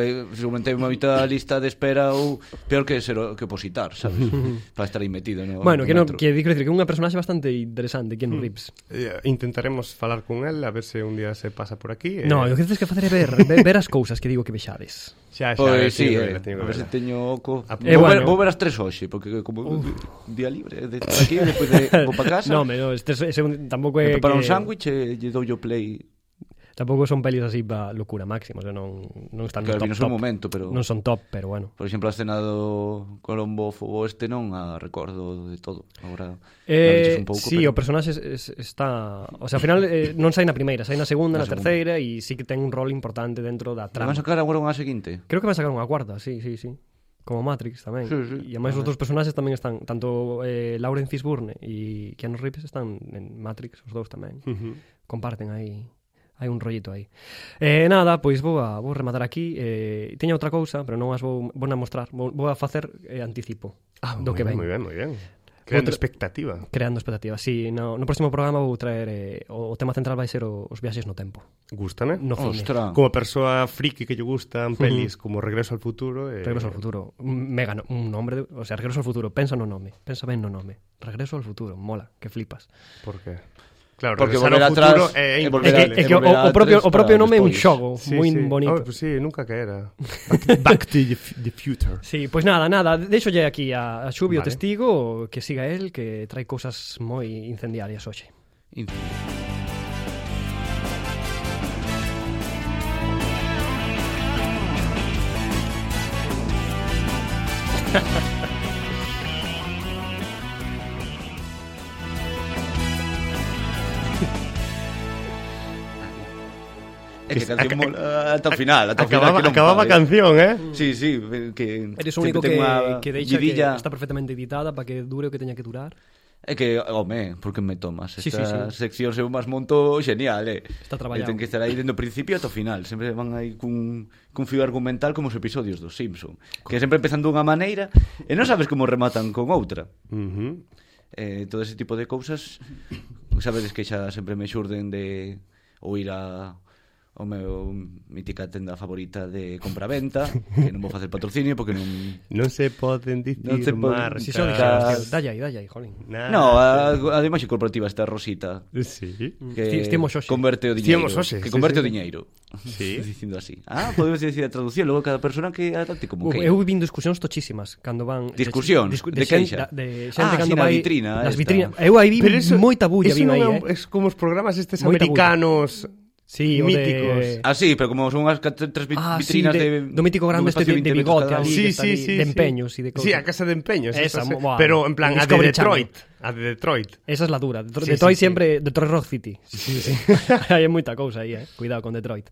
eh, seguramente hai moita lista de espera ou peor que ser o- que opositar, sabes? Para estar aí metido no no
Bueno, que, no,
metro.
que digo decir que é unha personaxe bastante interesante, Keanu Reeves.
Eh, intentaremos falar con él a ver se un día se pasa por aquí. eh.
No, o que tens que facer é ver, ver, ver as cousas que digo que vexades.
xa, xa, teño
Pois sí,
que
eh,
verla, teño que
a ver se
verla.
teño oco.
Ah,
Eh,
eh,
vou,
bueno.
ver, vou ver as tres hoxe, porque como día libre, de estar aquí, despois de vou para casa.
No, me, no, este es, ese un, tampouco
me
é
preparo
que,
un sándwich e lle dou yo play.
Tampouco son pelis así pa locura máxima, o sea, non, non están
Claro,
Ah, no top,
non son
top.
momento, pero
Non son top, pero bueno.
Por exemplo, a escena do Colombófobo este non a recordo de todo. Agora analizo
Eh,
un pouco,
sí,
pero-
o personaxe es, es, está... O sea, ao final eh, non sai na primeira, sai na segunda,
Na
na, terceira e sí que ten un rol importante dentro
Van
da trama.
a sacar agora unha seguinte.
Creo que van a sacar unha cuarta, sí, sí, sí. Como Matrix tamén.
Sí, sí.
E ademais os outros personaxes tamén están, tanto eh, Lauren Fishburne e Keanu Reeves están en Matrix, os dous tamén.
Ujú.
Comparten aí hai un rollito aí. Eh, nada, pois vou a, vou rematar aquí. Eh, teña outra cousa, pero non as vou, vou a mostrar. Vou, vou a facer eh, anticipo ah, do
Moi
que
ben,
ven.
moi ben, moi ben. Creando
Outra-
expectativa.
Creando expectativas. Sí, no, no próximo programa vou traer eh, o, o tema central vai ser o, os viaxes no tempo.
Gústame.
No cine.
Ostra.
Como persoa friki que lle gustan pelis como Regreso al futuro eh,
Regreso ao futuro. Un Mega, no- un nombre, de- o sea, Regreso ao futuro, pensa no nome, pensa ben no nome. Regreso ao futuro, mola, que flipas.
Porque Claro,
Porque
Regresar
volver
ao futuro eh,
atrás
é
e
É
volver
imposible.
Dale,
que, é
e
que o,
volver a
o propio
tres
o propio
para
nome é un
despois.
xogo
Sí,
moi
sí. Ah,
bonito.
pues sí, nunca que era. Back to the, fu- the future.
Sí, pois pues nada, nada, deixolle aquí a, a Xubio
Vale.
vale. testigo que siga el que trae cousas moi incendiarias hoxe.
In- É que canción mola ata o final, ata o final
Acababa,
que non
acababa a
pare.
canción, eh?
Sí, sí, que
Eres o
sempre
único
ten
que,
unha
que deixa
vidilla.
que está perfectamente editada para que dure o que teña que durar.
É que, home, porque me tomas
Sí,
Esta
sí, sí.
sección se más monto genial, eh
Está
E
traballado.
Ten que estar aí dentro principio ata o final Sempre van aí cun, cun fio argumental como os episodios dos Simpson Que sempre empezando dunha maneira E non sabes como rematan con outra
Ujú.
eh, Todo ese tipo de cousas Sabedes que xa sempre me xurden de Ou ir a o meu mítica tenda favorita de compraventa que non vou facer patrocinio porque non
Non se poden dicir
Non se poden-
marcas.
Si
Si
xo
só
dixemos,
dixemos,
tío, dalle aí, dalle aí, jolín.
Nada.
No, ah. a, a de imaxe corporativa está Rosita
Sí.
que
Estivemos hoxe.
converte o diñeiro.
Estivemos hoxe,
que
sí, sí.
converte o diñeiro.
Sí.
Dicindo así. Ah, podemos decir a traducción, logo cada persona que adapte como que.
Okay. Eu vin discusións tochísimas cando van
Discusións? De
xen-
queixa?
da- de xente
Ah, sí,
cando
na
vai
vitrina
nas
esta.
vitrinas. Eu aí vi
Pero eso-
moita bulla
eso
vin
non
aí,
é
eh.
un- Es como os programas estes
Moita bulla.
americanos.
Sí, o
míticos.
de...
Ah, sí, pero como son unhas cat- tres vi-
Ah,
vitrinas
sí, de-
de...
do mítico grande
dun
este
espacio
de- de
20 metros
bigote
cada
ali.
un.
Sí,
está
sí,
ali,
sí,
de
sí.
empeños e de cousas.
Sí, a casa de empeños.
Esa,
esas, eh.
buah.
Pero en plan, a de
Discovery
Detroit. A de Detroit.
Esa es la dura. Detro-
Sí,
Detroit
sí, sí.
siempre... Detroit Rock City. Sí, sí. Hai moita cousa aí, eh. Cuidado con Detroit.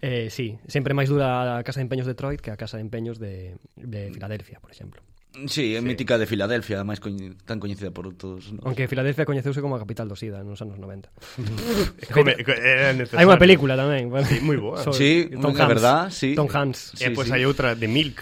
Eh, sí, sempre máis dura a Casa de Empeños de Detroit que a Casa de Empeños de, de Filadelfia, por exemplo.
Sí, é mítica de Filadelfia, máis coñ... tan coñecida por todos. ¿no?
Aunque Filadelfia coñeceuse como a capital do SIDA nos anos 90.
Come- era necesario.
Hai unha película tamén. bueno,
Sí, moi boa.
sobre
Sí, na verdad, sí.
Tom Hanks.
Eh,
Sí,
pois
sí.
hai outra de Milk.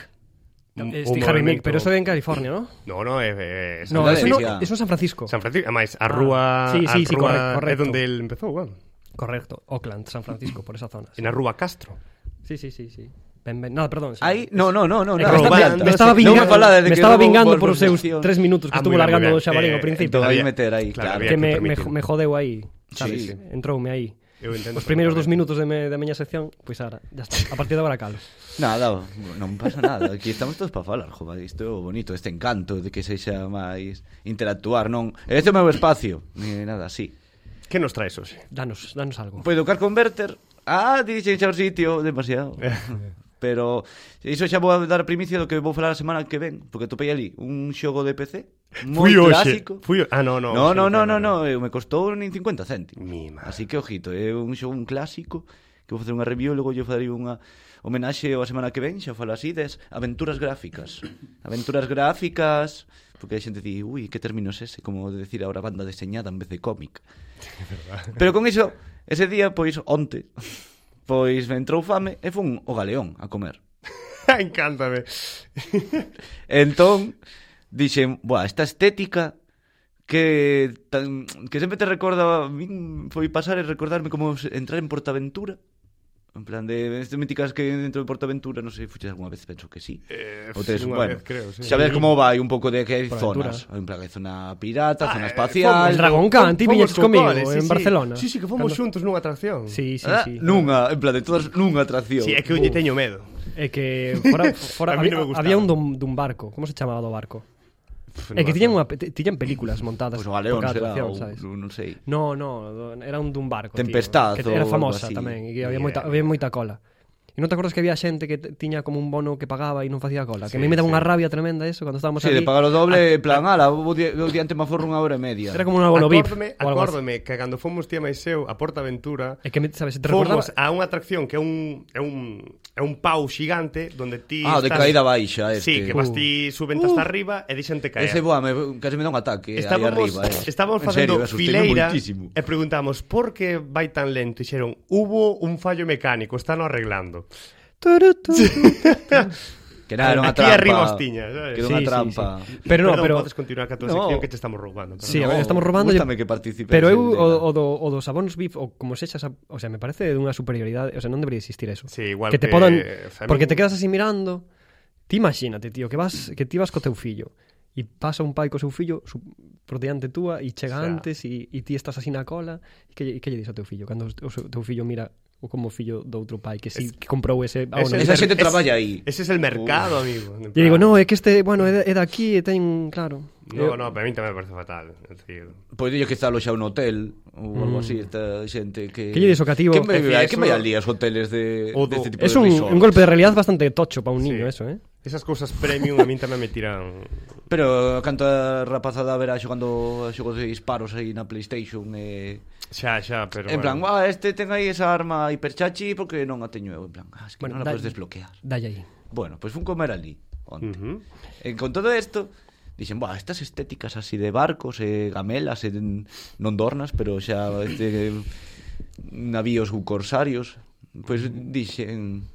Un-
Este
un
Harry
movimento-
Mick, pero eso é en California, ¿no?
No, no, é... é- é-
No, eso, no,
Filadelfia.
eso en San Francisco.
San Francisco, ademais, a rúa...
Ah, sí, sí,
a rúa-
sí, correcto, correcto.
É donde el empezou, bueno.
Correcto, Oakland, San Francisco, por esa zona. sí.
En a rúa Castro.
Sí, sí, sí, sí. Ben, ben, nada, perdón. sí.
Aí, no, no, no, no,
É que
nada,
me
Roban-
estaba-
no
me
sé.
estaba
Non me
vingando,
falades de
me
que
estaba
roubou
vingando
vos
por os seus
posición.
tres minutos que
Ah,
estuvo
moi ben, moi
largando
ben.
o xabalín
Eh,
ao principio.
entón
Todavía
había-
meter aí,
claro,
claro.
había
que me, me,
permitirlo.
me jodeu aí, sabes?
Sí.
Entroume aí.
Eu entendo
Os primeiros dos
perfectamente.
minutos de me, da miña sección, pois ahora, ya está. A partir de agora calo.
Nada, non pasa nada Aquí estamos todos para falar, jova Isto é o bonito, este encanto de que sexa máis Interactuar, non Este é o meu espacio, ni nada así
Que nos traes hoxe?
Danos, danos algo.
Pois do car converter Ah, dixen xa o sitio, demasiado
Eh.
Pero iso xa vou a dar a primicia do que vou falar a semana que ven Porque topei ali un xogo de PC Moi
Fui hoxe,
clásico
fui ho- Ah, no, no,
No,
hoxe
no,
non quero,
no, no, no, eu me costou nin 50 céntimos
Mi madre.
Así que ojito, é un xogo un clásico Que vou facer unha review e logo lle farei unha homenaxe a semana que ven Xa falo así des aventuras gráficas Aventuras gráficas Porque a xente di, ui, que término é ese Como de decir ahora banda deseñada en vez de cómic Pero con iso, ese día, pois, onte, pois me entrou fame e fun o galeón a comer.
Encántame.
Entón, dixen, boa, esta estética que tan, que sempre te recorda, a min foi pasar e recordarme como se- entrar en Portaventura. En plan de estas míticas que dentro de Portaventura, non sei, fuches algunha vez, penso que sí.
Eh,
Ou tes,
unha
bueno,
vez, creo, sí.
xa ves como vai un pouco de que hai
Portaventura.
zonas, en plan, hai zona pirata,
eh,
zona espacial,
fomos, Dragón Khan, ti
Fomos
viñeches
con
comigo
Cole, sí,
en
sí.
Barcelona.
Sí, sí, que fomos
Cando-
xuntos nunha atracción.
Sí, sí,
ah,
sí.
nunha, en plan de todas nunha atracción.
Sí, é que eu lle teño medo.
É Eh, que fora,
A
fora
mí
había,
non me gustaba. Pues
había un dun, dun barco, como se chamaba do barco?
Pff,
É que
non
tiñan unha pe- tiñan películas montadas.
Pois o Pues galeón
por cada
será,
atracción,
ou,
sabes?
non sei.
No, no, do- era un dun barco,
Tempestad ou
tío, que era
algo
famosa
así.
tamén, e que había
Ni idea.
moita había moita cola. E non te acordas que había xente que te- tiña como un bono que pagaba e non facía cola, que a mí me daba unha rabia tremenda eso cando estábamos
Sí,
ali.
de pagar o doble, en plan, ala, vou di- vou diante má forro unha hora e media.
Ah, Era como unha bono VIP.
Acórdome,
ou algo así.
acórdome que cando fomos tía máis eu a Portaventura
É que me, sabes, te recordaba
Fomos a unha atracción que é un, é un, é un pau xigante donde ti
Ah, o de
estás-
caída baixa, este. Uh.
Sí, que vas
Uh.
ti subente hasta arriba e deixante caer.
Ese, boa, me, casi me dá un ataque aí
estábamos,
arriba. Eh.
estábamos Eh,
En
facendo
serio, asusteime
fileira
moitísimo.
e preguntamos por que vai tan lento. E Dixeron, hubo un fallo mecánico, están arreglando.
Que nada, era unha
aquí
trampa.
arriba os tiñas, sabes?
Que era
Sí,
unha
sí,
trampa.
sí. Pero no,
Perdón,
pero-
podes continuar ca tua
No.
sección que te estamos roubando. perdón.
Sí, a ver, estamos robando
gústame que participes
Pero eu
en-
o, o, do, o dos sabóns VIP ou como sexas, a- o sea, me parece de unha superioridade, o sea, non debería existir eso.
Sí, igual
que te
que-
podan
o sea, a
porque
min-
te quedas así mirando. Ti imagínate, tío, que vas que ti vas co teu fillo e pasa un pai co seu fillo su, por diante túa e
O
chega
sea.
antes e, e ti estás así na cola e que, lle- e que lle dis ao teu fillo cando o, seu- teu fillo mira o como fillo do outro pai que si que comprou ese ah,
Ese
bueno,
es
Esa
el-
xente
ese-
traballa aí.
Ese es el mercado, amigo.
E digo, no, é que este, bueno, é de- é de aquí e ten, claro. Eh,
No, no, para mí tamén me parece fatal. É dicir,
Pois dillo que está aloxado un hotel
Mm.
ou algo así, esta xente que...
Que lle dis ao cativo?
Que
É
me,
que
é que
eso-
me alía os hoteles de,
O do-
deste tipo
Es
de
un,
resorts.
un golpe de realidad bastante tocho para un
Sí.
niño eso, eh.
Esas cousas premium a min tamén me tiran...
Pero canto a rapazada verá xogando a xogos de disparos aí na Playstation e...
Xa, xa, pero
en plan,
bueno.
ah, este ten aí esa arma hiperchachi porque non a teño eu. En plan, ah, es que
Bueno,
non a
da-
podes desbloquear.
Dalle aí.
Bueno, pois pues fun comer ali onte.
Ujú.
E con todo isto, dixen, "Buah, estas estéticas así de barcos e gamelas e non dornas, pero xa este eh, navíos ou corsarios, pois pues, dixen,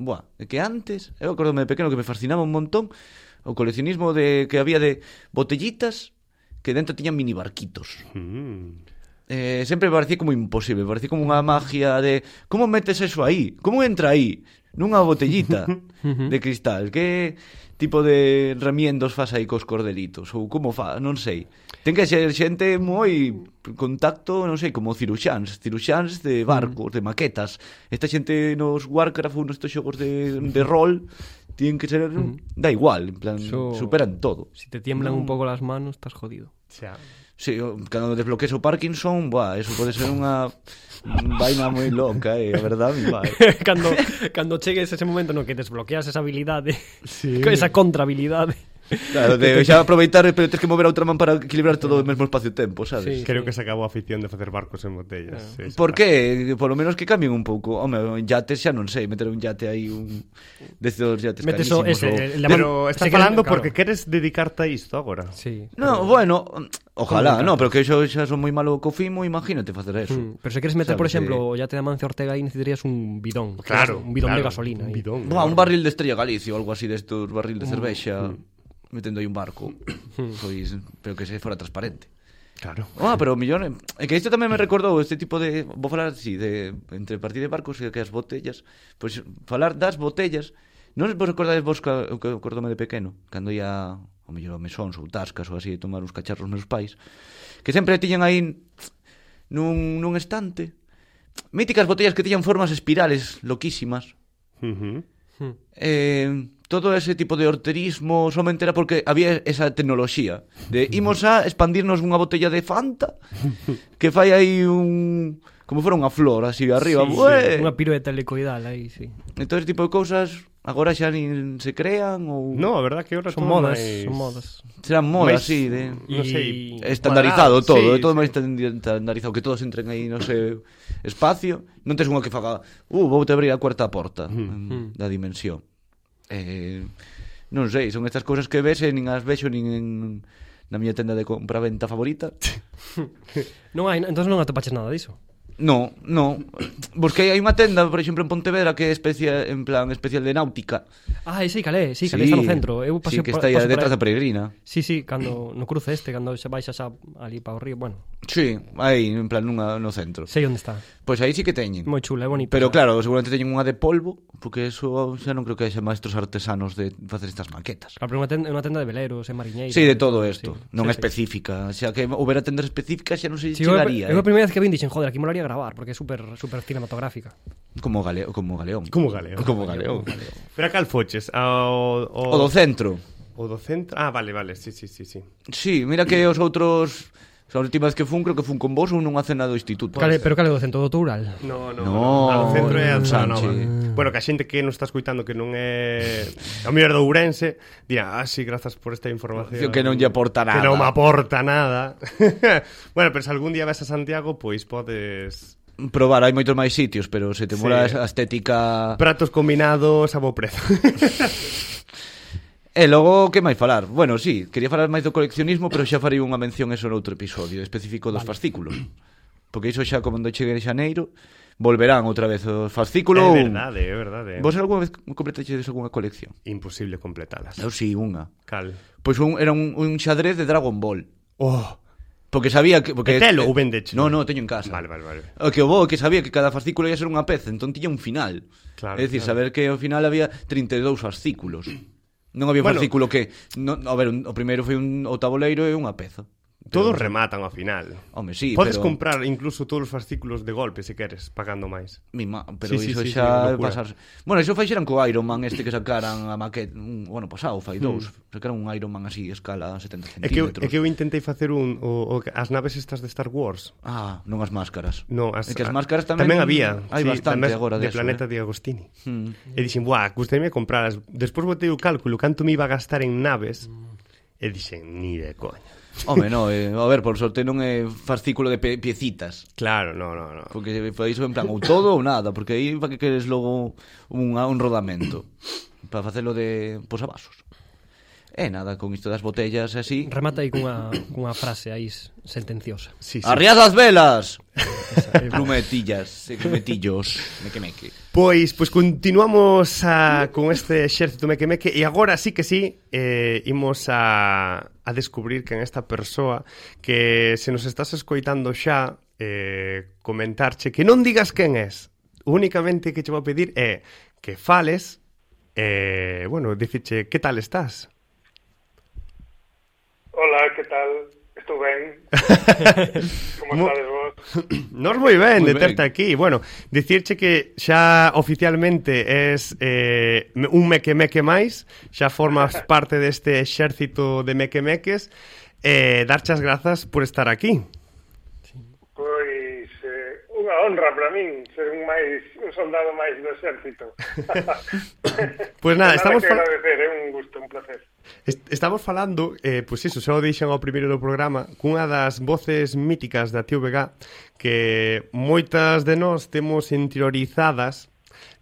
"Buah, é que antes, eu acordome de pequeno que me fascinaba un montón o coleccionismo de que había de botellitas que dentro tiñan mini barquitos.
Mm.
Eh, sempre me parecía como imposible, parecía como unha magia de como metes eso aí, como entra aí nunha botellita de cristal, que tipo de remiendos fas aí cos cordelitos ou como fa, non sei. Ten que ser xente moi contacto, non sei, como ciruxáns, ciruxáns de barcos, de maquetas. Esta xente nos Warcraft ou nestes xogos de, de rol tienen que ser da igual, en plan,
Eso-
superan todo.
Si te tiemblan un poco las manos, estás jodido.
Xa.
Sí, o- cando desbloquees o Parkinson, buah, eso pode ser unha vaina moi loca, eh, a verdad, mi pai.
cando, cando chegues ese momento no que desbloqueas esa habilidade, sí. esa contrahabilidade.
Claro, de xa aproveitar, pero tens que mover a outra man para equilibrar todo o mesmo espacio-tempo,
Sí.
sabes? Sí.
Creo que se acabou a afición de facer barcos en botellas. Sí, sí,
Por que? Polo menos que cambien un pouco. Home, en yates xa non sei, meter un yate aí un destes dos yates
Metes o
carísimos.
ese,
ou-
el- La
Pero
man-
estás
se quedan-
falando
claro.
porque queres dedicarte a isto agora.
Sí.
No, bueno, ojalá, no, pero que yo xa son moi malo co fimo, imagínate facer eso.
Mm, Pero se queres meter,
Sabes,
por exemplo, ya te da Mancio Ortega aí necesitarías un bidón.
Claro,
un bidón
claro,
de gasolina.
Un
aí.
bidón.
Buah, un barril de Estrella Galicia ou algo así destos
Mm,
barril de cervexa metendo aí un barco. Pois, pero que se fora transparente.
Claro.
Ah, pero millón É que isto tamén me recordou este tipo de Vou falar así, de, entre partir de barcos E que as botellas Pois falar das botellas Non vos acordades vos ca- o que acordome de pequeno Cando ia ao mellor a mesóns ou tascas Ou así, tomar uns cacharros meus pais Que sempre tiñan aí Nun, nun estante Míticas botellas que tiñan formas espirales Loquísimas
Ujú.
eh, todo ese tipo de horterismo somente era porque había esa tecnoloxía de imos a expandirnos unha botella de Fanta que fai aí un como fora unha flor así arriba
Sí,
Bué!
Unha pirueta helicoidal aí, sí.
e todo ese tipo de cousas agora xa nin se crean ou
No, a verdad que ahora todo
Son modas,
máis-
son modas.
serán modas
máis-
así de
Non sei,
Y-
estandarizado
cuadrado,
todo,
sí,
é todo
sí.
máis estandi- estandarizado que todos entren aí no seu espacio, non tes unha que faga, uh, vou te abrir a cuarta porta
Hmm,
mm, da dimensión. Eh, non sei, son estas cousas que ves e nin as vexo nin en, na miña tenda de compra-venta favorita.
Non hai, entón non atopaches nada diso.
No, no. Busquei hai unha tenda, por exemplo, en Pontevedra que é especia, en plan especial de náutica.
Ah, sí, calé, sí, calé, está no centro. Eu paseo
sí, que
pa-
está aí
paso por
detrás
aí.
da peregrina.
Sí, sí, cando no cruce este, cando xa baixa xa ali para o río, bueno,
Sí, aí, en plan, nunha, no centro.
sei onde está.
Pois aí sí que teñen.
Moi chula, é bonita.
Pero claro, seguramente teñen unha de polvo, porque eso xa non creo que haxa maestros artesanos de facer estas maquetas.
Claro, pero é unha tenda, é unha tenda de veleiros, é mariñeira.
Sí, de todo isto,
sí.
non
Sí,
é específica, xa que houbera tendas específicas xa non se
Sí, eu,
chegaría,
eu
eh?
a primeira vez que vin dixen, joder, aquí molaría gravar, porque é super, super cinematográfica.
como galeo, como galeón.
Como galeo.
Como galeón.
Pero a cal foches? Ao, ao,
O do centro.
o do centro? Ah, vale, vale, sí, sí, sí, sí.
Sí, mira que os outros As últimas que fun, creo que fun con vos ou nunha cena do instituto.
Cale, pero cale do centro do Toural.
No, no,
No,
ao centro é a zona nova.
Sánchez.
Bueno, que a xente que nos está escuitando que non é a mellor do Ourense, dirá, ah, sí, grazas por esta información.
Que non lle aporta
Que
nada.
non me aporta nada. bueno, pero se algún día vas a Santiago, pois podes
Probar, hai moitos máis sitios, pero se te
Sí.
mola a estética...
pratos combinados a bo prezo.
E logo, que máis falar? Bueno, sí, quería falar máis do coleccionismo, pero xa farei unha mención eso noutro episodio específico dos fascículos. Porque iso xa, como cando chegue de xaneiro, volverán outra vez
é
os fascículos.
verdade, é verdade.
Vos algunha vez completaxedes algunha colección?
Imposible completalas.
Eu sí, unha.
Cal.
Pois un, era un, un xadrez de Dragon Ball.
Oh,
Porque sabía que... Porque,
Vetelo ou vendeche?
No, no, teño en casa.
vale, vale, vale.
O que o bo é que sabía que cada fascículo ia ser unha peza, entón tiña un final.
Claro,
é dicir,
claro.
saber que ao final había 32 fascículos. Non había un
Bueno.
fascículo que, no, a ver, un, o primeiro foi un o tabuleiro e unha peza.
Todos rematan ao final.
Home, sí,
Podes
pero
comprar incluso todos os fascículos de golpe se queres, pagando máis.
mi ma, pero
Sí, sí,
iso
sí, sí,
xa é
locura.
pasar. Bueno, iso fai xeran co Iron Man este que sacaran a maqueta, un, bueno, pasado fai dous, sacaron un Iron Man así escala
Mm.
70
É que, eu-
centímetros.
é que eu intentei facer un o, o, as naves estas de Star Wars.
Ah, non as máscaras.
No, as,
é que as máscaras tamén
tamén había, sí,
Hai bastante
tamén
agora
de
deso,
Planeta de
eh?
Agostini.
Hmm.
E dixen, "Buah, gustaríame compralas." Despois botei o cálculo canto me iba a gastar en naves. E dixen, "Ni de coña."
Home, no, eh, a ver, por sorte non é fascículo de pe piecitas.
Claro, no, no, no.
Porque foi iso en plan ou todo ou nada, porque aí para que queres logo un, un rodamento para facelo de posavasos. E nada, con isto das botellas e así.
Remata aí cunha, cunha frase aí s- sentenciosa.
Sí, sí.
Arriad as velas. Plumetillas, e plumetillos, meque meque.
Pois, pois continuamos a, con este exército meque-meque e agora sí que sí eh, imos a, a descubrir que en esta persoa que se nos estás escoitando xa eh, comentarche que non digas quen es únicamente que che vou pedir é que fales eh, bueno, diciche que tal estás
Hola, ¿qué tal? Estou ben. Como
Mo-
estades vos?
Nos moi ben de
Moi
terte
ben.
aquí. Bueno, dicirche que xa oficialmente es eh, me- un meque meque máis, xa formas parte deste exército de meque meques, eh, darche as grazas por estar aquí.
Pois eh, unha honra para min ser un máis un soldado máis do exército.
Pois nada, estamos
que
fal-
agradecer, é un gusto, un placer.
Est estamos falando, eh, pois iso, xa o dixen ao primeiro do programa, cunha das voces míticas da TVG que moitas de nós temos interiorizadas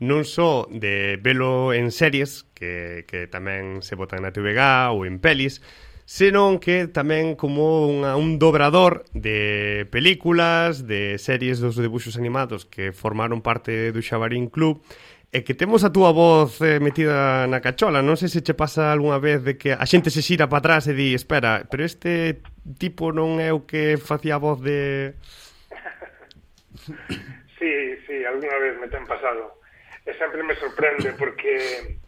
non só de velo en series, que, que tamén se botan na TVG ou en pelis, senón que tamén como unha, un dobrador de películas, de series dos debuxos animados que formaron parte do Xabarín Club, E que temos a túa voz eh, metida na cachola, non sei se che pasa algunha vez de que a xente se xira para atrás e di, espera, pero este tipo non é o que facía a voz de...
Sí, sí, alguna vez me ten pasado. E sempre me sorprende porque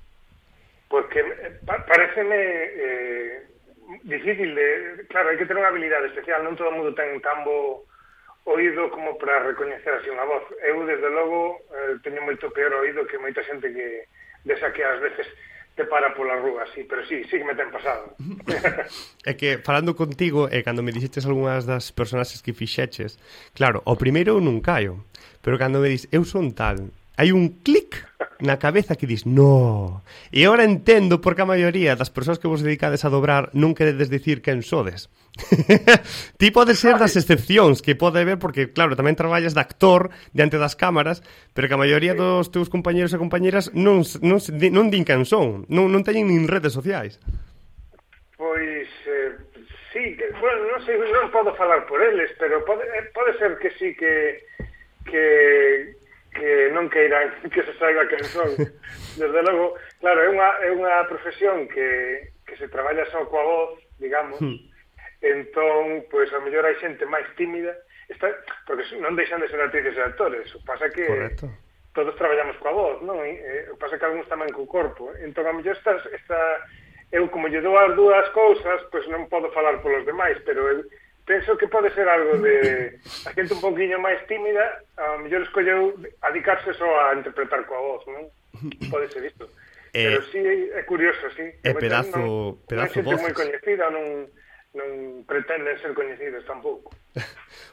porque pa pareceme eh, difícil de... Claro, hai que ter unha habilidade especial, non todo o mundo ten tan bo oído como para recoñecer así unha voz. Eu, desde logo, eh, teño moito peor oído que moita xente que desa que ás veces te para pola rúa, sí, pero sí, sí que me ten pasado.
É que falando contigo e cando me dixetes algunhas das personaxes que fixeches, claro, o primeiro eu non caio, pero cando me dis eu son tal, hai un clic na cabeza que dis no. E agora entendo por que a maioría das persoas que vos dedicades a dobrar non queredes dicir quen sodes. Ti podes ser das excepcións que pode haber porque claro, tamén traballas de actor diante das cámaras, pero que a maioría dos teus compañeros e compañeras non s- non s- di- non din quen son, non non teñen nin redes sociais.
Pois, eh, sí, que, bueno, non sei, non podo falar por eles, pero pode, eh, pode ser que sí que que que non queiran que se saiba quen son. Desde logo, claro, é unha, é unha profesión que, que se traballa só coa voz, digamos, entón, pois, a mellor hai xente máis tímida, está, porque non deixan de ser actrices e actores, o pasa que
Correcto.
todos traballamos coa voz, non? E, eh, o pasa que algúns tamén co corpo. Entón, a mellor esta, esta eu como lle dou as dúas cousas, pois non podo falar polos demais, pero eu penso que pode ser algo de a xente un pouquiño máis tímida, a mellor escolleu adicarse só a interpretar coa voz, non? Pode ser isto.
Eh,
pero sí, é curioso, sí.
eh,
Moitas
pedazo-
non,
pedazo
non é xente moi
voces.
coñecida, non, non pretenden ser coñecidos tampouco.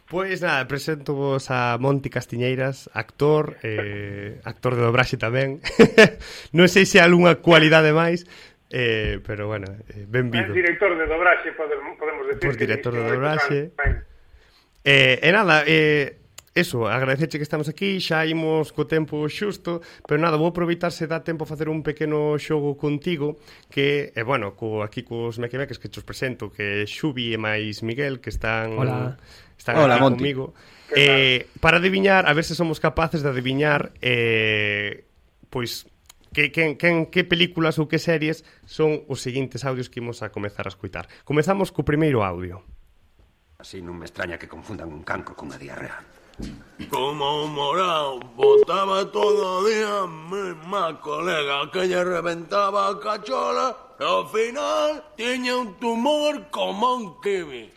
Pois nada, presento vos a Monti Castiñeiras, actor, eh, actor de dobraxe tamén. non sei se hai algunha cualidade máis, eh, pero bueno, eh,
É
benvido.
director de dobraxe, podemos, podemos decir.
Pois
que
director de
dixo,
dobraxe.
ben.
Eh, e nada, eh, eso, agradecerche que estamos aquí, xa imos co tempo xusto, pero nada, vou aproveitar se dá tempo a facer un pequeno xogo contigo, que, e eh, bueno, co, aquí cos mequemeques que chos presento, que é Xubi e máis Miguel, que están...
Hola.
Están
Hola,
aquí
Monti.
comigo. Eh, para adivinar, a ver se somos capaces de adivinar eh, pois que, que, que, que películas ou que series son os seguintes audios que imos a comezar a escuitar. Comezamos co primeiro audio.
Así no me extraña que confundan un cancro con una diarrea.
Como un morado, botaba todo el día mis más colegas que le reventaba cachola. Al final tiene un tumor como un kiwi.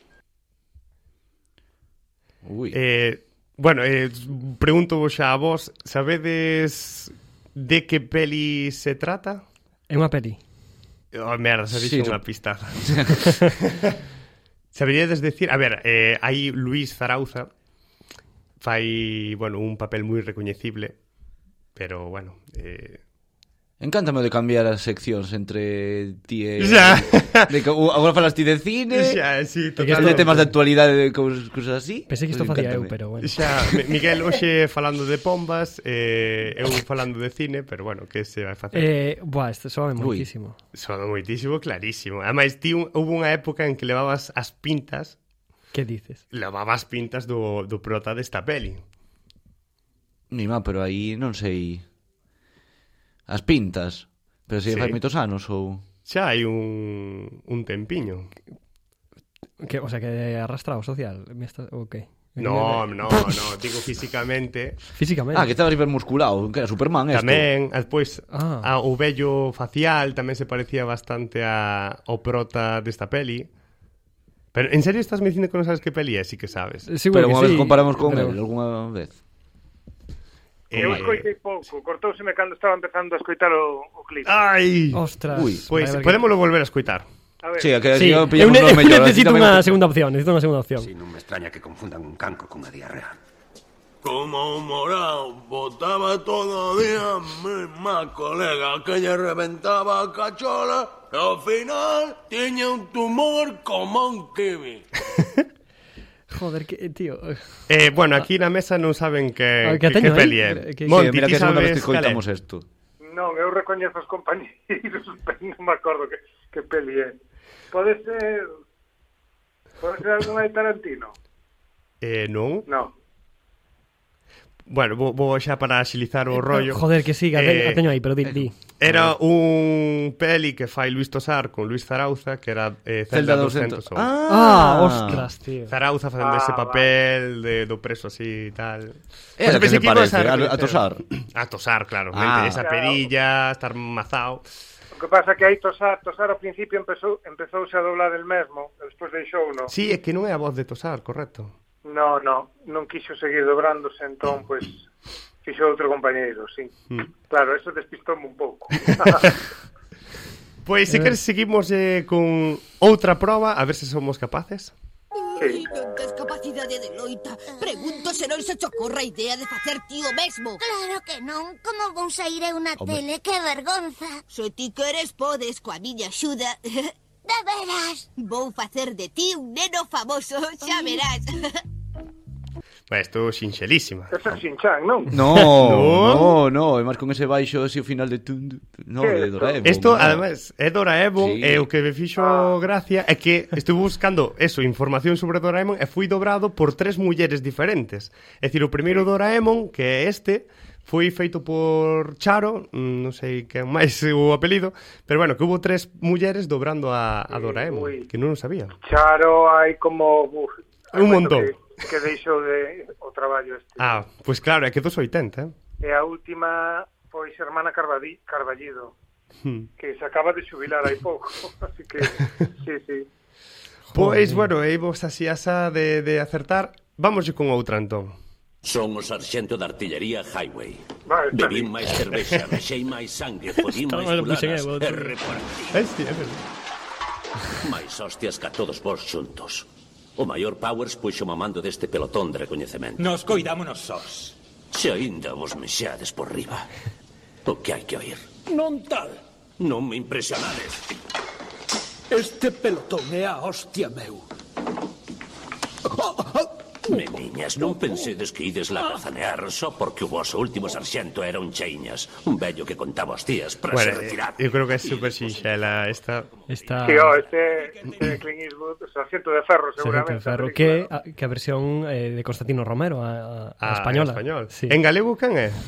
Ui.
Eh, bueno, eh, pregunto vos xa a vos, sabedes de que peli se trata?
É unha peli.
Oh, merda, se
Sí,
dixo
no.
unha pistada. Saberíades decir, a ver, eh, hai Luis Zarauza fai, bueno, un papel moi recoñecible, pero bueno, eh,
Encántame o de cambiar as seccións entre ti e...
Xa.
De, que- u- agora falas ti de cine, xa,
xa, sí,
que
de
totalmente.
temas de actualidade, de cous- cousas así.
Pensei que isto
Pois
facía eu,
encántame.
pero bueno.
Xa, Mi- Miguel hoxe falando de pombas, eh, eu falando de cine, pero bueno, que se vai facer?
Eh, buah, este sobe moitísimo.
Sono moitísimo clarísimo. Ademais, ti un, houve unha época en que levabas as pintas,
Que dices?
levabas pintas do, do prota desta peli.
Mi má, pero aí non sei... As pintas. Pero
Sí.
se sí. fai moitos anos ou...
Xa hai un, un tempiño.
Que, o sea, que arrastrado social. Me está... Okay.
No, no, no, digo físicamente.
Físicamente.
Ah, que estaba hipermusculado, que era Superman esto.
Tamén, despois,
Ah.
ah. o vello facial tamén se parecía bastante a, ao prota desta peli. Pero, en serio estás me dicindo que non sabes que peli é? Sí que sabes.
Eh,
Pero
Seguro que
unha
sí,
vez comparamos con
pero-
él, algunha vez.
Eh,
Eu escoitei pouco, cortouseme cando estaba empezando a escoitar o, o clip.
Ah, Ai,
Ostras.
Ui,
pois,
vai ver que-
podémoslo volver a escoitar.
a ver,
Sí, a que aquí
Sí, eu,
pillamos
ne-
lo
eu
mellor, así
necesito
tamén-
unha segunda opción, necesito unha segunda opción.
Así no me extraña que confundan un cancro con una diarrea.
Como un morado, botaba todo el día mis más colegas que le reventaba cachola. Al final tiene un tumor como un kiwi.
Joder, que, tío.
Eh, bueno, aquí na mesa non saben que,
Ah,
que,
que
que,
teño aí.
peli é.
Que- que-
Sí,
Monti,
mira
ti
que é a segunda vez
sabes cal
que
é?
coitamos isto.
non, eu recoñezo os compañeiros, pero non me acordo que, que peli é. Pode ser... Pode ser alguna de Tarantino?
Eh, non?
No.
Bueno, vou, vou xa para xilizar o rollo.
Eh, Joder, que siga, eh, a teño aí, pero di, di.
Era un peli que fai Luis Tosar con Luis Zarauza, que era eh, Zelda,
Zelda
200. 200.
200.
Ah, ostras, tío.
Zarauza facendo ese papel de, do preso así e tal.
É a que
pensei
se
iba
parece,
ser
a- a
referencia.
Tosar.
A tosar, claro.
Ah.
mente, Esa perilla, estar mazao.
O que pasa que aí Tosar, Tosar ao principio empezou, empezouse a doblar el mesmo, e despois deixou no.
Sí, é que non é a voz de tosar, correcto.
No, no, non quixo seguir dobrándose, entón, pois, fixo outro compañeiro, sí. Claro, eso despistoume un pouco.
Pois se queres seguimos eh, con outra proba, a ver se somos capaces.
sí.
Discapacidade de noita Pregunto se non se te ocorra a idea de facer ti o mesmo
Claro que non, como vou sair eu na
Home.
tele, que vergonza
Se ti queres podes coa miña axuda
De veras
Vou facer de ti un neno famoso Xa verás
Bueno, Isto xinxelísima.
Eso é Xinchán, non?
No,
No.
no, no, e máis con ese baixo así o final de tun, tun- no,
Que
de
esto-
Doraemon.
Isto,
no.
ademais, é Doraemon
Sí.
e o que me fixo gracia é que estuve buscando eso, información sobre Doraemon e fui dobrado por tres mulleres diferentes. É dicir, o primeiro Doraemon, que é este, foi feito por Charo, mm, non sei que máis o apelido, pero bueno, que hubo tres mulleres dobrando a, a Doraemon,
Ui.
que non o sabía.
Charo hai como... Uf, hai
Un
moito
montón.
Que, que deixou de o traballo este.
Ah, pois claro, é que dos 80, eh?
E a última foi Xermana Carbadí, Carballido,
Hmm.
que se acaba de xubilar hai pouco. Así que, sí, sí.
Pois, bueno, e vos así asa de, de acertar. Vamos con outra, entón.
Son o sarxento de artillería Highway.
Vale, está
Bebín
bien.
máis cervexa, rexei máis sangue, jodín máis
Estaba lo puse en el
culadas e
botón.
repartí
É, sí, é verdade.
máis hostias ca todos vos xuntos. O maior Powers puxo mamando deste pelotón de recoñecemento.
Nos coidámonos sós.
Se aínda vos mexades por riba, o que hai que oír?
Non tal.
Non me impresionades.
Este pelotón é a hostia meu.
Meniñas, non pensedes que ides lá cazanear só porque o vosso último sarxento era un cheiñas, un vello que contaba os tías para
Bueno,
se retirar.
eu creo que é super sinxela esta.
Está
Sí, o, este, este Clint Eastwood, o sea, Ciento de Ferro, seguramente.
Sargento Ferro,
a
que, a,
película,
que a versión eh, de Constantino Romero, a, a, a
Ah,
española.
en español.
Sí.
En galego can é?
¿no?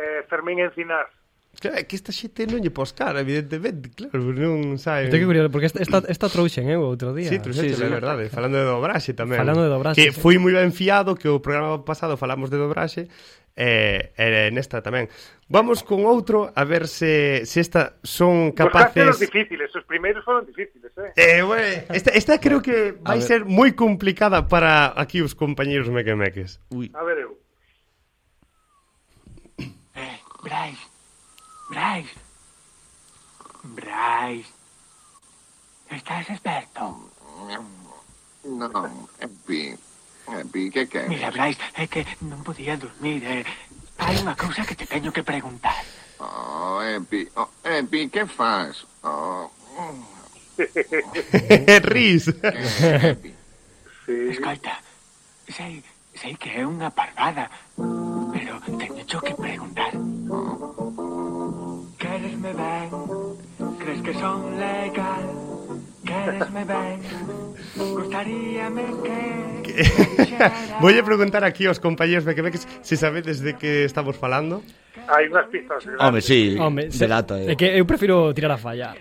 Eh, Fermín Encinar.
Claro, é que esta xente non lle poscar, evidentemente, claro, non saben.
Tengo que curioso, porque esta, esta, esta trouxen, eh, o outro día.
eh. Sí, truxete, sí,
Sí, sí.
é verdade, falando de dobraxe tamén.
Falando de dobraxe,
Que
sí.
foi moi ben fiado que o programa pasado falamos de dobraxe e eh, eh, nesta tamén. Vamos con outro a ver se se esta son
Buscaste los
capaces.
difíciles, os primeiros foron difíciles, eh?
Eh, bueno, esta, esta creo que vai
ver.
ser moi complicada para aquí os compañeros mequemeques.
Ui,
A ver eu.
Brais. Brais. Brais. Estás experto.
No, en fin. En fin, ¿qué queres?
Mira, Brais, é que non podía dormir. Eh. Hai unha cousa que te teño que preguntar.
Oh, en fin. Oh, en fin, ¿qué fas? Oh,
Riz.
en fin.
Sí.
Escoita, sei, sei que é unha parvada, pero teño que preguntar. Queresme ben? Crees que son legal? Queresme ben? Gustaríame que...
Voy a preguntar aquí aos compañeros mequemeques se sabedes de que estamos falando.
Hai unhas pistas. grandes.
Home, sí,
Home, se-
delata.
É
Eh.
que eu prefiro tirar a fallar.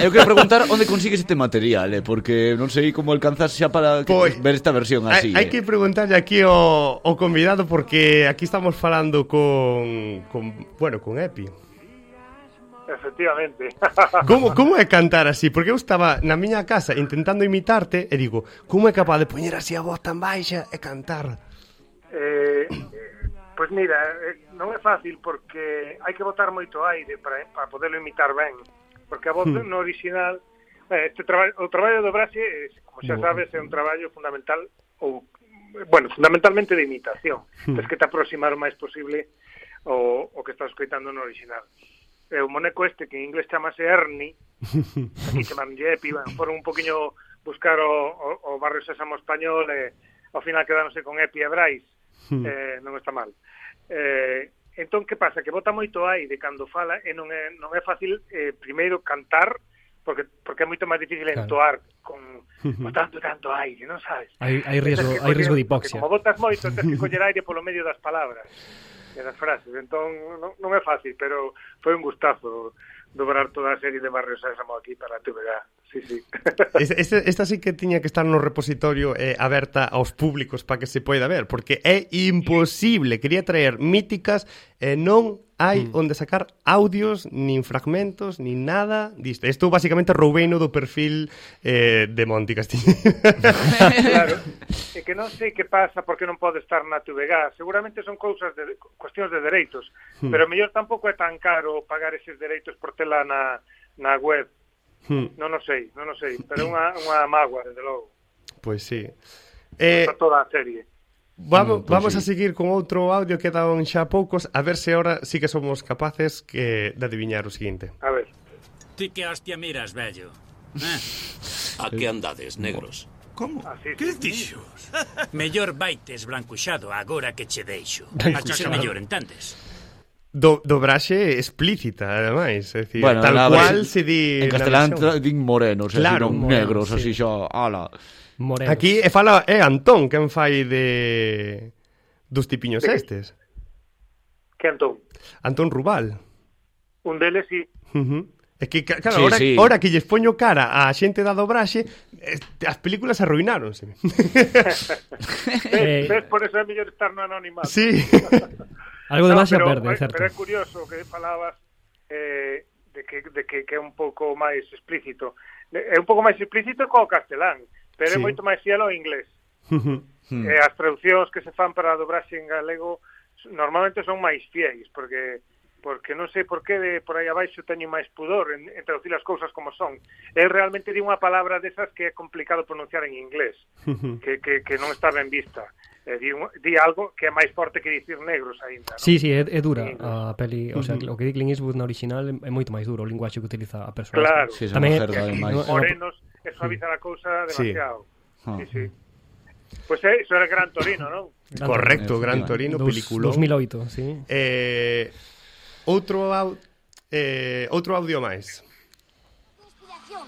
Eu quero preguntar onde consigues este material, eh, porque non sei como alcanzas xa para que-
Pois-
ver esta versión
Hay,
así.
hay
eh.
que preguntarle aquí o, o convidado porque aquí estamos falando con, con bueno, con Epi.
Efectivamente.
Como como é cantar así? Porque eu estaba na miña casa intentando imitarte e digo, como é capaz de poñer así a voz tan baixa e cantar?
Eh, pois mira, eh, non é fácil porque hai que botar moito aire para, para poderlo imitar ben. Porque a voz no original... eh, Este traballo, o traballo do Brase, eh, como xa sabes, é un traballo fundamental ou bueno, fundamentalmente de imitación. Tens que te aproximar o máis posible o, o que estás escoitando no original. E o moneco este, que en inglés chamase Ernie, aquí chamanlle Epi, bueno, foron un poquinho buscar o, o, o barrio Sésamo Español e ao final quedáronse con Epi e Brais. Eh, non está mal. Eh, entón, que pasa? Que bota moito aire cando fala e non é, non é fácil, eh, primeiro, cantar, porque, porque é moito máis difícil
Claro.
entoar con botando tanto aire, non sabes?
Hai, hai riesgo,
Tens que
hai riesgo de
coller- porque
hipoxia.
Como botas moito, tens que coller aire polo medio das palabras. e das frases. Entón, non, non é fácil, pero foi un gustazo dobrar toda a serie de Barrio Sésamo aquí para a TVG. Sí, sí.
Es- este- esta sí que tiña que estar no repositorio eh, aberta aos públicos para que se poida ver, porque é imposible. Quería traer míticas e non hai
Mm.
onde sacar audios, nin fragmentos, nin nada disto. Isto basicamente roubeino do perfil eh, de Monti Castillo.
Claro, e que non sei que pasa porque non pode estar na TVG. Seguramente son cousas de cuestións de dereitos,
Hmm.
hmm. pero mellor tampouco é tan caro pagar eses dereitos por tela na, na web.
Hmm.
Non o sei, non o sei, pero é unha, unha magua, desde logo,
Pois sí.
eh...
Eh,
para toda a serie.
Vamos,
Mm, pois
vamos
sí.
a seguir con outro audio que daban xa poucos, a ver se ahora sí que somos capaces que, de adivinar o seguinte.
A ver.
Ti que hostia miras, Eh? bello?
A que andades, negros?
Como? Que dixos? Mellor vaites brancuxado agora que che deixo. Achase
Brancuxado.
mellor, entendes?
Do, dobraxe explícita, ademais, é dicir, bueno, tal
na-
cual se di
En
na
castelán
versión.
tra- din morenos,
Claro,
claro, non
morenos,
negros,
sí.
así xa, ala.
Aquí e fala é Antón quen fai de dos tipiños
Sí.
estes.
Que entón,
Antón Rubal.
un deles si
Uh -huh. É que ca- claro,
Sí,
ahora,
sí.
ahora que lles poño cara a xente da dobraxe, eh, as películas arruináronse.
Eh,
ves, ves, por eso é mellor estar no anonimato.
Sí.
Algo de máis se
pero- eh,
perde, é certo.
Pero é curioso que falabas eh, de, que, de que, que é un pouco máis explícito. É un pouco máis explícito co castelán, pero
Sí.
sí. é moito máis fiel ao inglés.
Mm.
Hmm.
Eh, as traducións que se fan para a dobraxe en galego normalmente son máis fiéis, porque porque non sei por que de por aí abaixo teño máis pudor en, en traducir as cousas como son. É realmente di unha palabra desas que é complicado pronunciar en inglés que, que, que non está ben vista. Eh, di, un- di algo que é máis forte que dicir negros aínda.
Sí, sí, é, é dura
Sí.
a peli, o sea,
Ujú.
o que di Clint Eastwood na original é moito máis duro o linguaxe que utiliza a eh, personaxe.
Claro. Sí, esa
Tamén é-
mujer da
é-
máis.
é unha-
Morenos e suaviza a cousa
Sí.
demasiado.
Ah.
Sí, sí. Pois pues iso era Gran Torino, non?
Correcto, Gran
Efectivamente.
Torino,
eh, Dos-
película.
2008, sí.
Eh, outro au, eh, outro audio máis.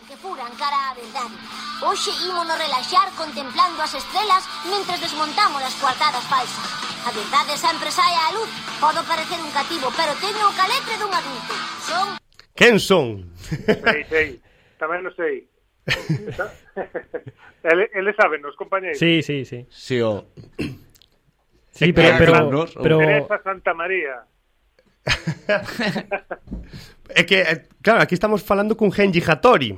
que furan cara a verdade. Hoxe ímonos relaxar contemplando as estrelas mentre desmontamos as coartadas falsas. A verdade sempre sae á luz. Podo parecer un cativo, pero teño o caletre dun adulto. Son
Quen son?
Sei, sei. Tamén lo sei. ele, ele saben, os compañeiros.
Sí, sí, sí.
Sí, o...
Sí, pero, pero, pero,
Teresa Santa María.
É que, eh, claro, aquí estamos falando cun Genji Hattori,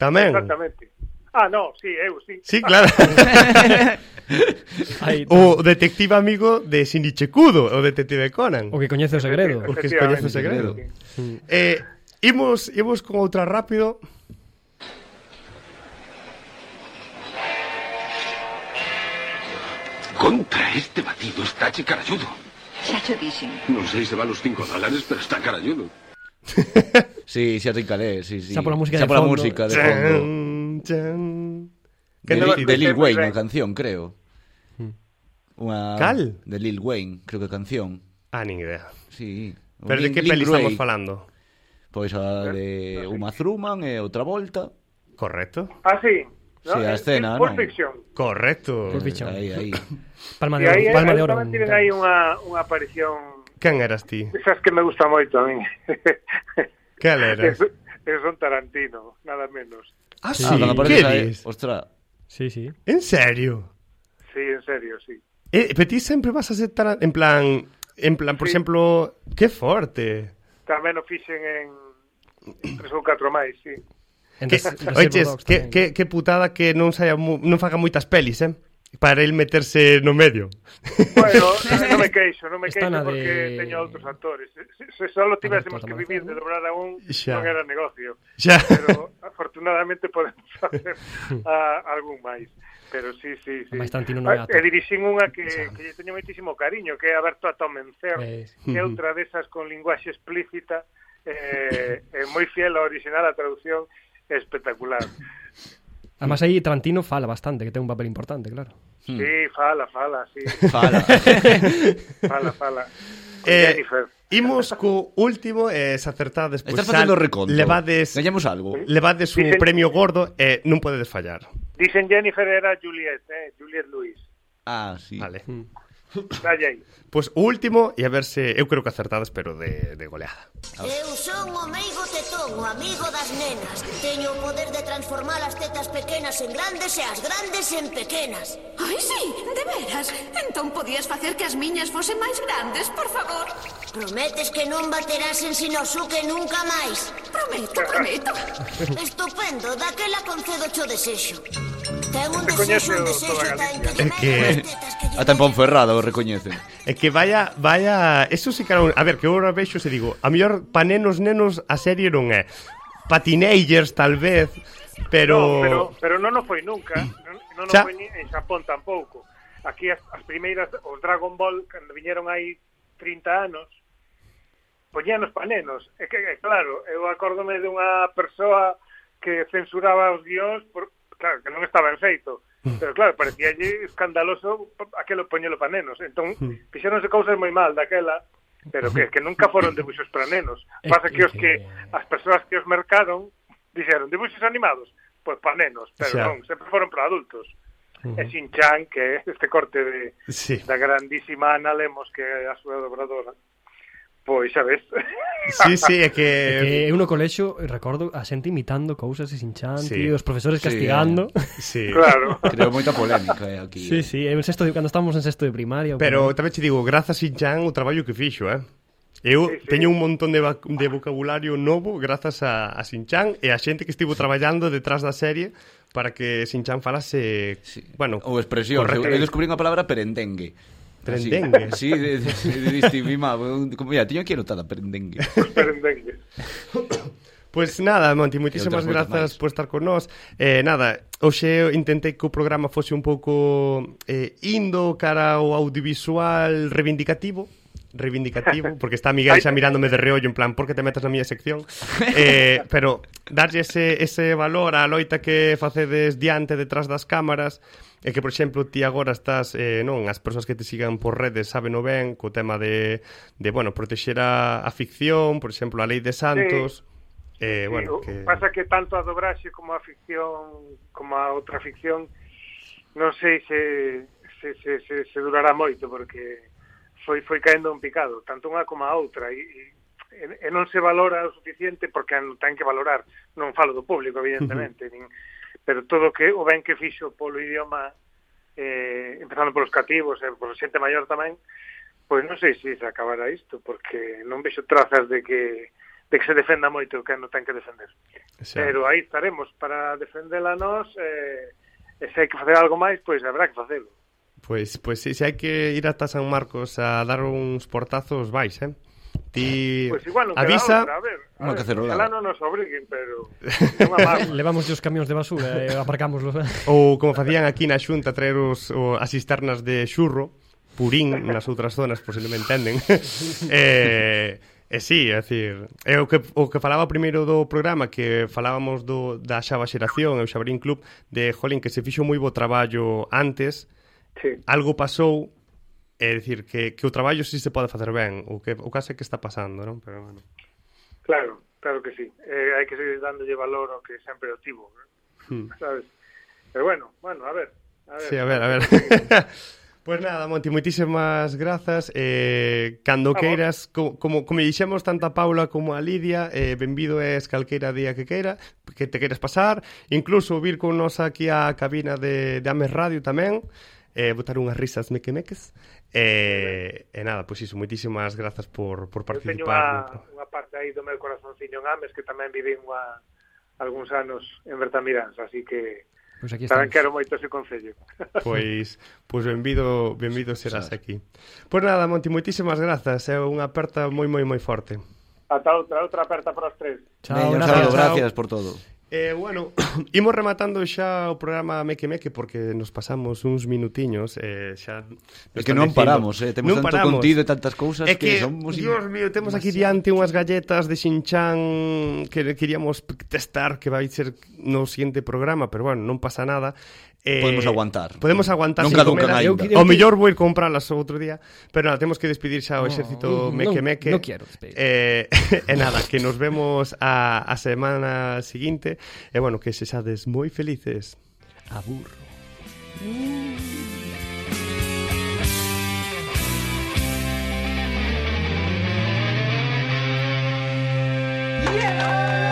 tamén.
Exactamente. Ah, no, sí, eu, sí.
Sí, claro.
Aí está.
o detective amigo de Shinichikudo, o detective Conan.
o que coñece o
Ah,
segredo.
Porque coñece o segredo. Eh, imos, imos con outra rápido.
Contra este batido está chicarayudo.
Xa cho dixen.
Non sei se van os cinco dólares, pero está carayudo.
Sí, xa rincalé, sí, sí.
Xa pola música
xa
de
pola
fondo.
música de
Chan,
fondo.
chan.
De,
Que no-
Li- de Lil
que-
Wayne, a canción, creo. Unha...
Cal?
De Lil Wayne, creo que a canción.
Ah, nin idea.
Sí. O
Pero de
Lin-
que
Lin
peli
Grey.
estamos falando? ¿Eh?
Pois a de Uma Thurman e outra volta.
Correcto.
Ah, sí.
Sí, a escena, non?
Pulp Fiction.
Correcto.
Pulp Fiction. Aí, aí.
Palma
E aí, Palma de Oro. Tamén tienen aí unha, unha aparición
Quen eras ti?
esas que me gusta moito a min.
Cal eras?
Es, es un Tarantino, nada menos.
Ah, sí,
Ah, cando
que
apareces aí,
dis?
ostra.
Sí, sí.
En serio?
Sí, en serio, sí.
Eh, pero ti sempre vas a ser tan... En plan... En plan, por
Sí.
exemplo... Que forte.
Tamén o fixen en, en tres ou catro máis, sí.
Que, oiches, que, que, que putada que non saia mu, non faga moitas pelis, eh? Para el meterse no medio.
Bueno, non me queixo, non me
Está
queixo
na
porque
de- Ah,
teño outros actores. Se, se, se solo tivésemos que vivir de dobrar a un,
Xa.
non era negocio.
Xa.
Pero afortunadamente podemos facer a, algún máis. Pero sí, sí, sí.
Máis Tarantino non é
Ah,
ato.
E dirixín unha que, que lle teño moitísimo cariño, que é Aberto a Tomencer,
Eh,
que é outra desas con linguaxe explícita, eh, é moi fiel ao original, a traducción é espectacular.
Además aí Tarantino fala bastante, que ten un papel importante, claro.
Hmm.
Sí, fala, fala, sí.
Fala.
fala, fala.
Eh,
Jennifer.
Imos co último, eh, se acertades pois
Estás facendo
xa
reconto.
Levades,
Gañamos algo.
levades un
Dicen-
premio gordo e eh, non podedes fallar.
Dicen Jennifer era Juliet, eh, Juliet Lewis.
Ah, sí.
Vale.
Dalla aí.
Pois o último, e a ver se eu creo que acertades, pero de, de goleada.
Eu son o meigo tetón, o amigo das nenas Teño o poder de transformar as tetas pequenas en grandes e as grandes en pequenas
Ai, sí, de veras Entón podías facer que as miñas fosen máis grandes, por favor
Prometes que non baterás en Shinosuke nunca máis
Prometo, prometo
Estupendo, daquela concedo cho desexo Ten un
Recoñece
desexo, un
o
desexo
toda
tan
É que...
Ata en Ponferrada o recoñecen.
É que vaya, vaya, eso sí que era un... A ver, que eu ahora vexo se digo, a mellor pa nenos nenos a serie non é. Pa teenagers tal vez, pero,
No, pero pero non o foi nunca, non, non o
Xa.
foi ni en Xapón tampouco. Aquí as, as primeiras os Dragon Ball cando viñeron aí 30 anos poñíanos pa nenos. É que é claro, eu acórdome dunha persoa que censuraba os guións por claro, que non estaba en feito.
Hmm.
Pero claro, parecíalle escandaloso pa- aquelo poñelo pa nenos. Entón,
Hmm.
fixéronse cousas moi mal daquela, pero que, que nunca foron debuxos para nenos. Pasa que os que as persoas que os mercaron dixeron debuxos animados, pois para nenos, pero
Xa.
non, sempre foron para adultos.
Ujú.
E Shin Chan, que é este corte de,
Sí.
da grandísima Ana Lemos, que é a súa dobradora, pois xa ves.
Sí, sí, é que...
É que eu no colexo recordo a xente imitando cousas e sin chan,
Sí.
sí. tío, os profesores
Sí,
castigando.
Sí.
Creo moita polémica eh, aquí.
Sí, sí, en sexto, de- cando estábamos en sexto de primaria.
Pero tamén che digo, grazas Sinchan o traballo que fixo, eh? Eu sí, sí. teño un montón de, vac- de vocabulario novo grazas a, a Sinchan e a xente que estivo traballando detrás da serie para que Sinchan falase, sí. bueno,
Ou expresión. Eu,
correcto.
eu descubrí unha palabra perendengue.
Perendengue.
Así, sí, de, de, de, diste, mima, como ya, tiño aquí anotada perendengue.
Pois nada, Monti,
Que
moitísimas
outras moitas
grazas por estar con nós. Eh, nada, hoxe eu intentei que o programa fose un pouco eh, indo cara ao audiovisual reivindicativo, reivindicativo, porque está Miguel xa mirándome de reollo en plan, por que te metes na miña sección? Eh, pero darlle ese, ese valor á loita que facedes diante detrás das cámaras, e que, por exemplo, ti agora estás, eh, non, as persoas que te sigan por redes saben o ben co tema de, de bueno, protexer a, a ficción, por exemplo, a lei de Santos, Eh, bueno,
Sí, o-
que...
Pasa que tanto a dobraxe como a ficción, como a outra ficción, non sei se se, se, se, se durará moito, porque foi foi caendo un picado, tanto unha como a outra, e, e, e non se valora o suficiente porque non ten que valorar, non falo do público, evidentemente, nin, pero todo o que o ben que fixo polo idioma, eh, empezando polos cativos, e eh, pola xente maior tamén, pois non sei se se acabará isto, porque non vexo trazas de que de que se defenda moito o que non ten que defender. Pero aí estaremos para defendela nós eh, e se hai que facer algo máis, pois habrá que facelo.
Pois, pois si, se hai que ir ata San Marcos a dar uns portazos, vais, eh? Ti
Pois igual non queda
avisa...
outra, a ver, a ver, ojalá non nos obriguen, pero é unha mágoa.
Levamos os camións de basura e aparcámoslos.
Ou como facían aquí na Xunta traer os, o, as cisternas de xurro, purín nas outras zonas, por se non me entenden. eh, E sí, é dicir, é o que, o que falaba primeiro do programa que falábamos do, da Xaba Xeración e o Xabarín Club de Jolín que se fixo moi bo traballo antes
sí.
algo pasou é dicir, que, que o traballo si sí se pode facer ben o que o caso é que está pasando non? Pero, bueno.
Claro, claro que sí. Eh, hai que seguir dándolle valor ao que sempre o tivo,
Hmm.
sabes? Pero bueno, bueno, a ver. A ver.
Sí, a ver, a ver. Pois pues nada, Monti, moitísimas grazas. Eh, cando
A vos.
queiras, co, como como dixemos tanto a Paula como a Lidia, eh benvido es calqueira día que queira, que te queiras pasar, incluso vir con nós aquí á cabina de de Ames Radio tamén, eh botar unhas risas mequemeques. Eh, e nada, pois iso, moitísimas grazas por por
Eu teño
participar.
unha, unha parte aí do meu corazonciño en Ames que tamén vivín unha, algúns anos en Bertamiráns, así que
Pois aquí estamos.
tamén quero moito ese concello.
Pois pois benvido, benvido serás aquí. Pois nada, Monti, moitísimas grazas. É unha aperta moi moi moi forte.
Ata outra, outra aperta para os tres.
Veña, un saludo, gracias por todo.
Eh, bueno, imos rematando xa o programa Meque Meque porque nos pasamos uns minutiños eh, xa nos
É que
están
non
dicindo-
paramos, eh, temos tanto contido e tantas cousas
É que,
que somos
Dios mío, temos aquí diante unhas galletas de Xinchán que queríamos testar que vai ser no siguiente programa, pero bueno, non pasa nada. Eh,
Podemos aguantar.
Podemos aguantar.
Non
sin
caducan
comer.
aínda.
Ao mellor vou ir comprarlas outro día, pero nada, temos que despedir xa o exército
non,
Meque Meque.
non quero despedir.
Eh, e nada, que nos vemos a, a semana seguinte. E bueno, que se sades moi felices.
Aburro.
Mm. cielo.